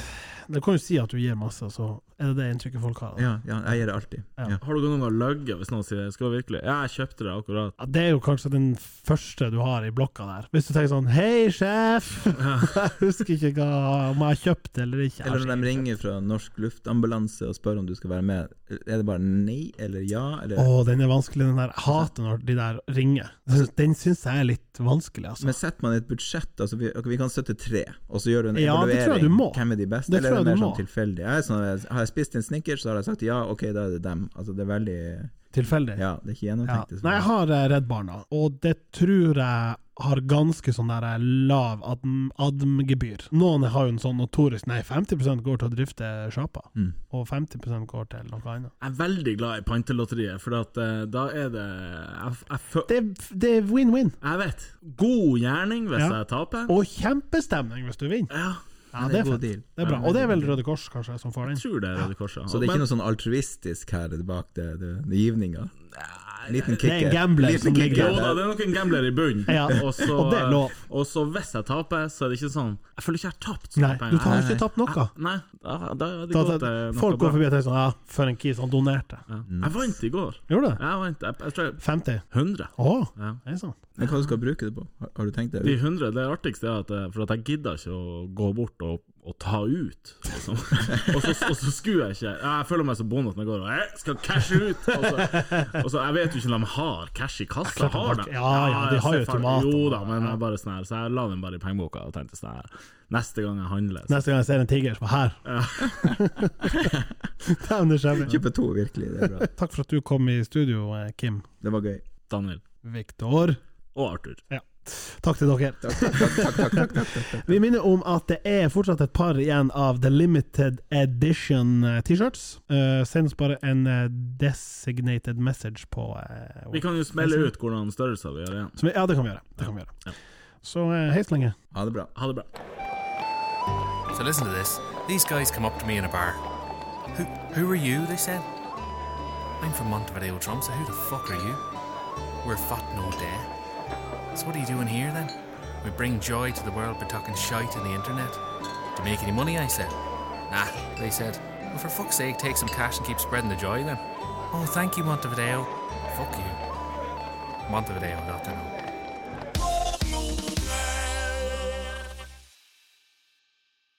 Speaker 3: Du kan jo si at du gir masse, så er det det inntrykket folk har. da.
Speaker 5: Ja, ja, jeg gjør det alltid.
Speaker 3: Ja.
Speaker 5: Ja.
Speaker 4: Har du noen gang løyet hvis noen sier 'skal du virkelig'? Ja, jeg kjøpte det akkurat.
Speaker 3: Ja, det er jo kanskje den første du har i blokka der. Hvis du tenker sånn 'Hei, sjef', jeg husker ikke hva, om jeg har kjøpt det eller ikke.
Speaker 5: Eller når de ringer fra norsk luftambulanse og spør om du skal være med, er det bare nei eller ja? Eller?
Speaker 3: Å, den er vanskelig, den der. Jeg hater når de der ringer. Den syns jeg er litt vanskelig, altså.
Speaker 5: Men setter man et budsjett altså vi, ok, vi kan støtte tre, og så gjør du en
Speaker 3: Ja, det
Speaker 5: evaluering.
Speaker 3: tror jeg du må.
Speaker 5: Hvem er de beste?
Speaker 3: Det
Speaker 5: eller
Speaker 3: tror
Speaker 5: er
Speaker 3: jeg
Speaker 5: det
Speaker 3: du
Speaker 5: mer
Speaker 3: må.
Speaker 5: sånn tilfeldig? Jeg er sånn, har jeg spist en snickers, så har jeg sagt ja, ok, da er det dem. Altså Det er veldig
Speaker 3: Tilfeldig.
Speaker 5: Ja, det er ikke
Speaker 3: Ja.
Speaker 5: gjennomtenkt. liksom. det er så
Speaker 3: Nei, jeg har eh, Redd Barna, og det tror jeg har ganske sånn der eh, lav adm- adm-gebyr. Noen har jo en sånn notorisk Nei, 50 går til å drifte sjappa,
Speaker 5: Mm.
Speaker 3: og 50 går til noe annet.
Speaker 4: Jeg er veldig glad i pantelotteriet, for at, eh, da er det jeg, jeg, fø-
Speaker 3: Det, er- det er win-win,
Speaker 4: jeg vet. God gjerning hvis
Speaker 3: Ja.
Speaker 4: jeg taper.
Speaker 3: og kjempestemning hvis du vinner.
Speaker 4: Ja,
Speaker 3: Ja,
Speaker 5: det er
Speaker 3: det er
Speaker 5: god
Speaker 3: fett.
Speaker 5: deal.
Speaker 3: Det er bra. Og det er vel Røde Kors kanskje som får
Speaker 4: jeg
Speaker 3: den?
Speaker 4: tror det er Røde Korset.
Speaker 5: Så det er ikke noe sånn altruistisk her bak det, det, det givninga? Liten
Speaker 3: Det er en
Speaker 5: kicker.
Speaker 3: gambler
Speaker 5: Liten
Speaker 3: som
Speaker 5: kicker.
Speaker 4: Jo
Speaker 3: ligger
Speaker 4: da,
Speaker 3: der.
Speaker 4: det er noen gambler i bunnen,
Speaker 3: Ja,
Speaker 4: og, så, eh,
Speaker 3: og det er lov.
Speaker 4: og så hvis jeg taper, så er det ikke sånn Jeg føler ikke jeg har tapt så
Speaker 3: Nei,
Speaker 4: mye
Speaker 3: du
Speaker 4: penger.
Speaker 3: tar jo ikke tapt noe.
Speaker 4: Nei, da, da er det
Speaker 3: Da,
Speaker 4: gått
Speaker 3: da,
Speaker 4: til noe
Speaker 3: folk går
Speaker 4: bra.
Speaker 3: forbi og tenker sånn Ja, for en kis, han donerte.
Speaker 4: Ja. Jeg vant i går.
Speaker 3: Gjorde det?
Speaker 4: Jeg vant, jeg, jeg tror jeg
Speaker 3: 50?
Speaker 4: 100.
Speaker 3: Å,
Speaker 4: Ja.
Speaker 3: det er sant.
Speaker 5: Men hva du skal bruke det på? Har, har du tenkt
Speaker 4: De
Speaker 5: det?
Speaker 4: 100, det artigste er at eh, For at jeg gidda ikke å gå bort og, og ta ut. Liksom. og, så, og så skulle jeg ikke. Jeg føler meg så bondet når jeg går og jeg skal cashe ut! Og så, og så, Jeg vet jo ikke om de har cash i kassa.
Speaker 3: Klart de
Speaker 4: Har
Speaker 3: har-
Speaker 4: de?
Speaker 3: ja, ja, de
Speaker 4: jeg
Speaker 3: har jo
Speaker 4: ser for-
Speaker 3: automater.
Speaker 4: Jo da, men jeg bare sånn her Så jeg la den bare i pengeboka og tenkte sånn her Neste gang jeg handler så,
Speaker 3: Neste gang jeg ser en tiger, så her. Dæven, det er skjemmelig.
Speaker 5: Kjøpe to, virkelig. Det er bra.
Speaker 3: Takk for at du kom i studio, eh, Kim.
Speaker 5: Det var gøy.
Speaker 4: Daniel
Speaker 3: Viktor.
Speaker 4: og Arthur.
Speaker 3: Takk til dere.
Speaker 5: Takk, takk, takk, takk, takk, takk, takk, takk.
Speaker 3: Vi minner om at det er fortsatt et par igjen av The Limited Edition eh, T-shirts. Eh, send oss bare en eh, designated message på eh,
Speaker 4: Vi kan jo smelle ut hvordan størrelser vi gjør igjen.
Speaker 3: som vi- Ja, det kan vi gjøre. Det kan vi gjøre. Så eh, hei så lenge.
Speaker 5: Ha det bra.
Speaker 4: Ha det bra.
Speaker 1: So listen to this. These guys come up to me in a bar. Who, who are you? They said. I'm from Montevideo, Trump, so who the fuck are you? We're fat no day. So what are you doing here then? We bring joy to the world by talking shite on the internet. Do you make any money? I said. Nah, they said. Well, for fuck's sake, take some cash and keep spreading the joy then. Oh, thank you, Montevideo. Fuck you. Montevideo, not to know.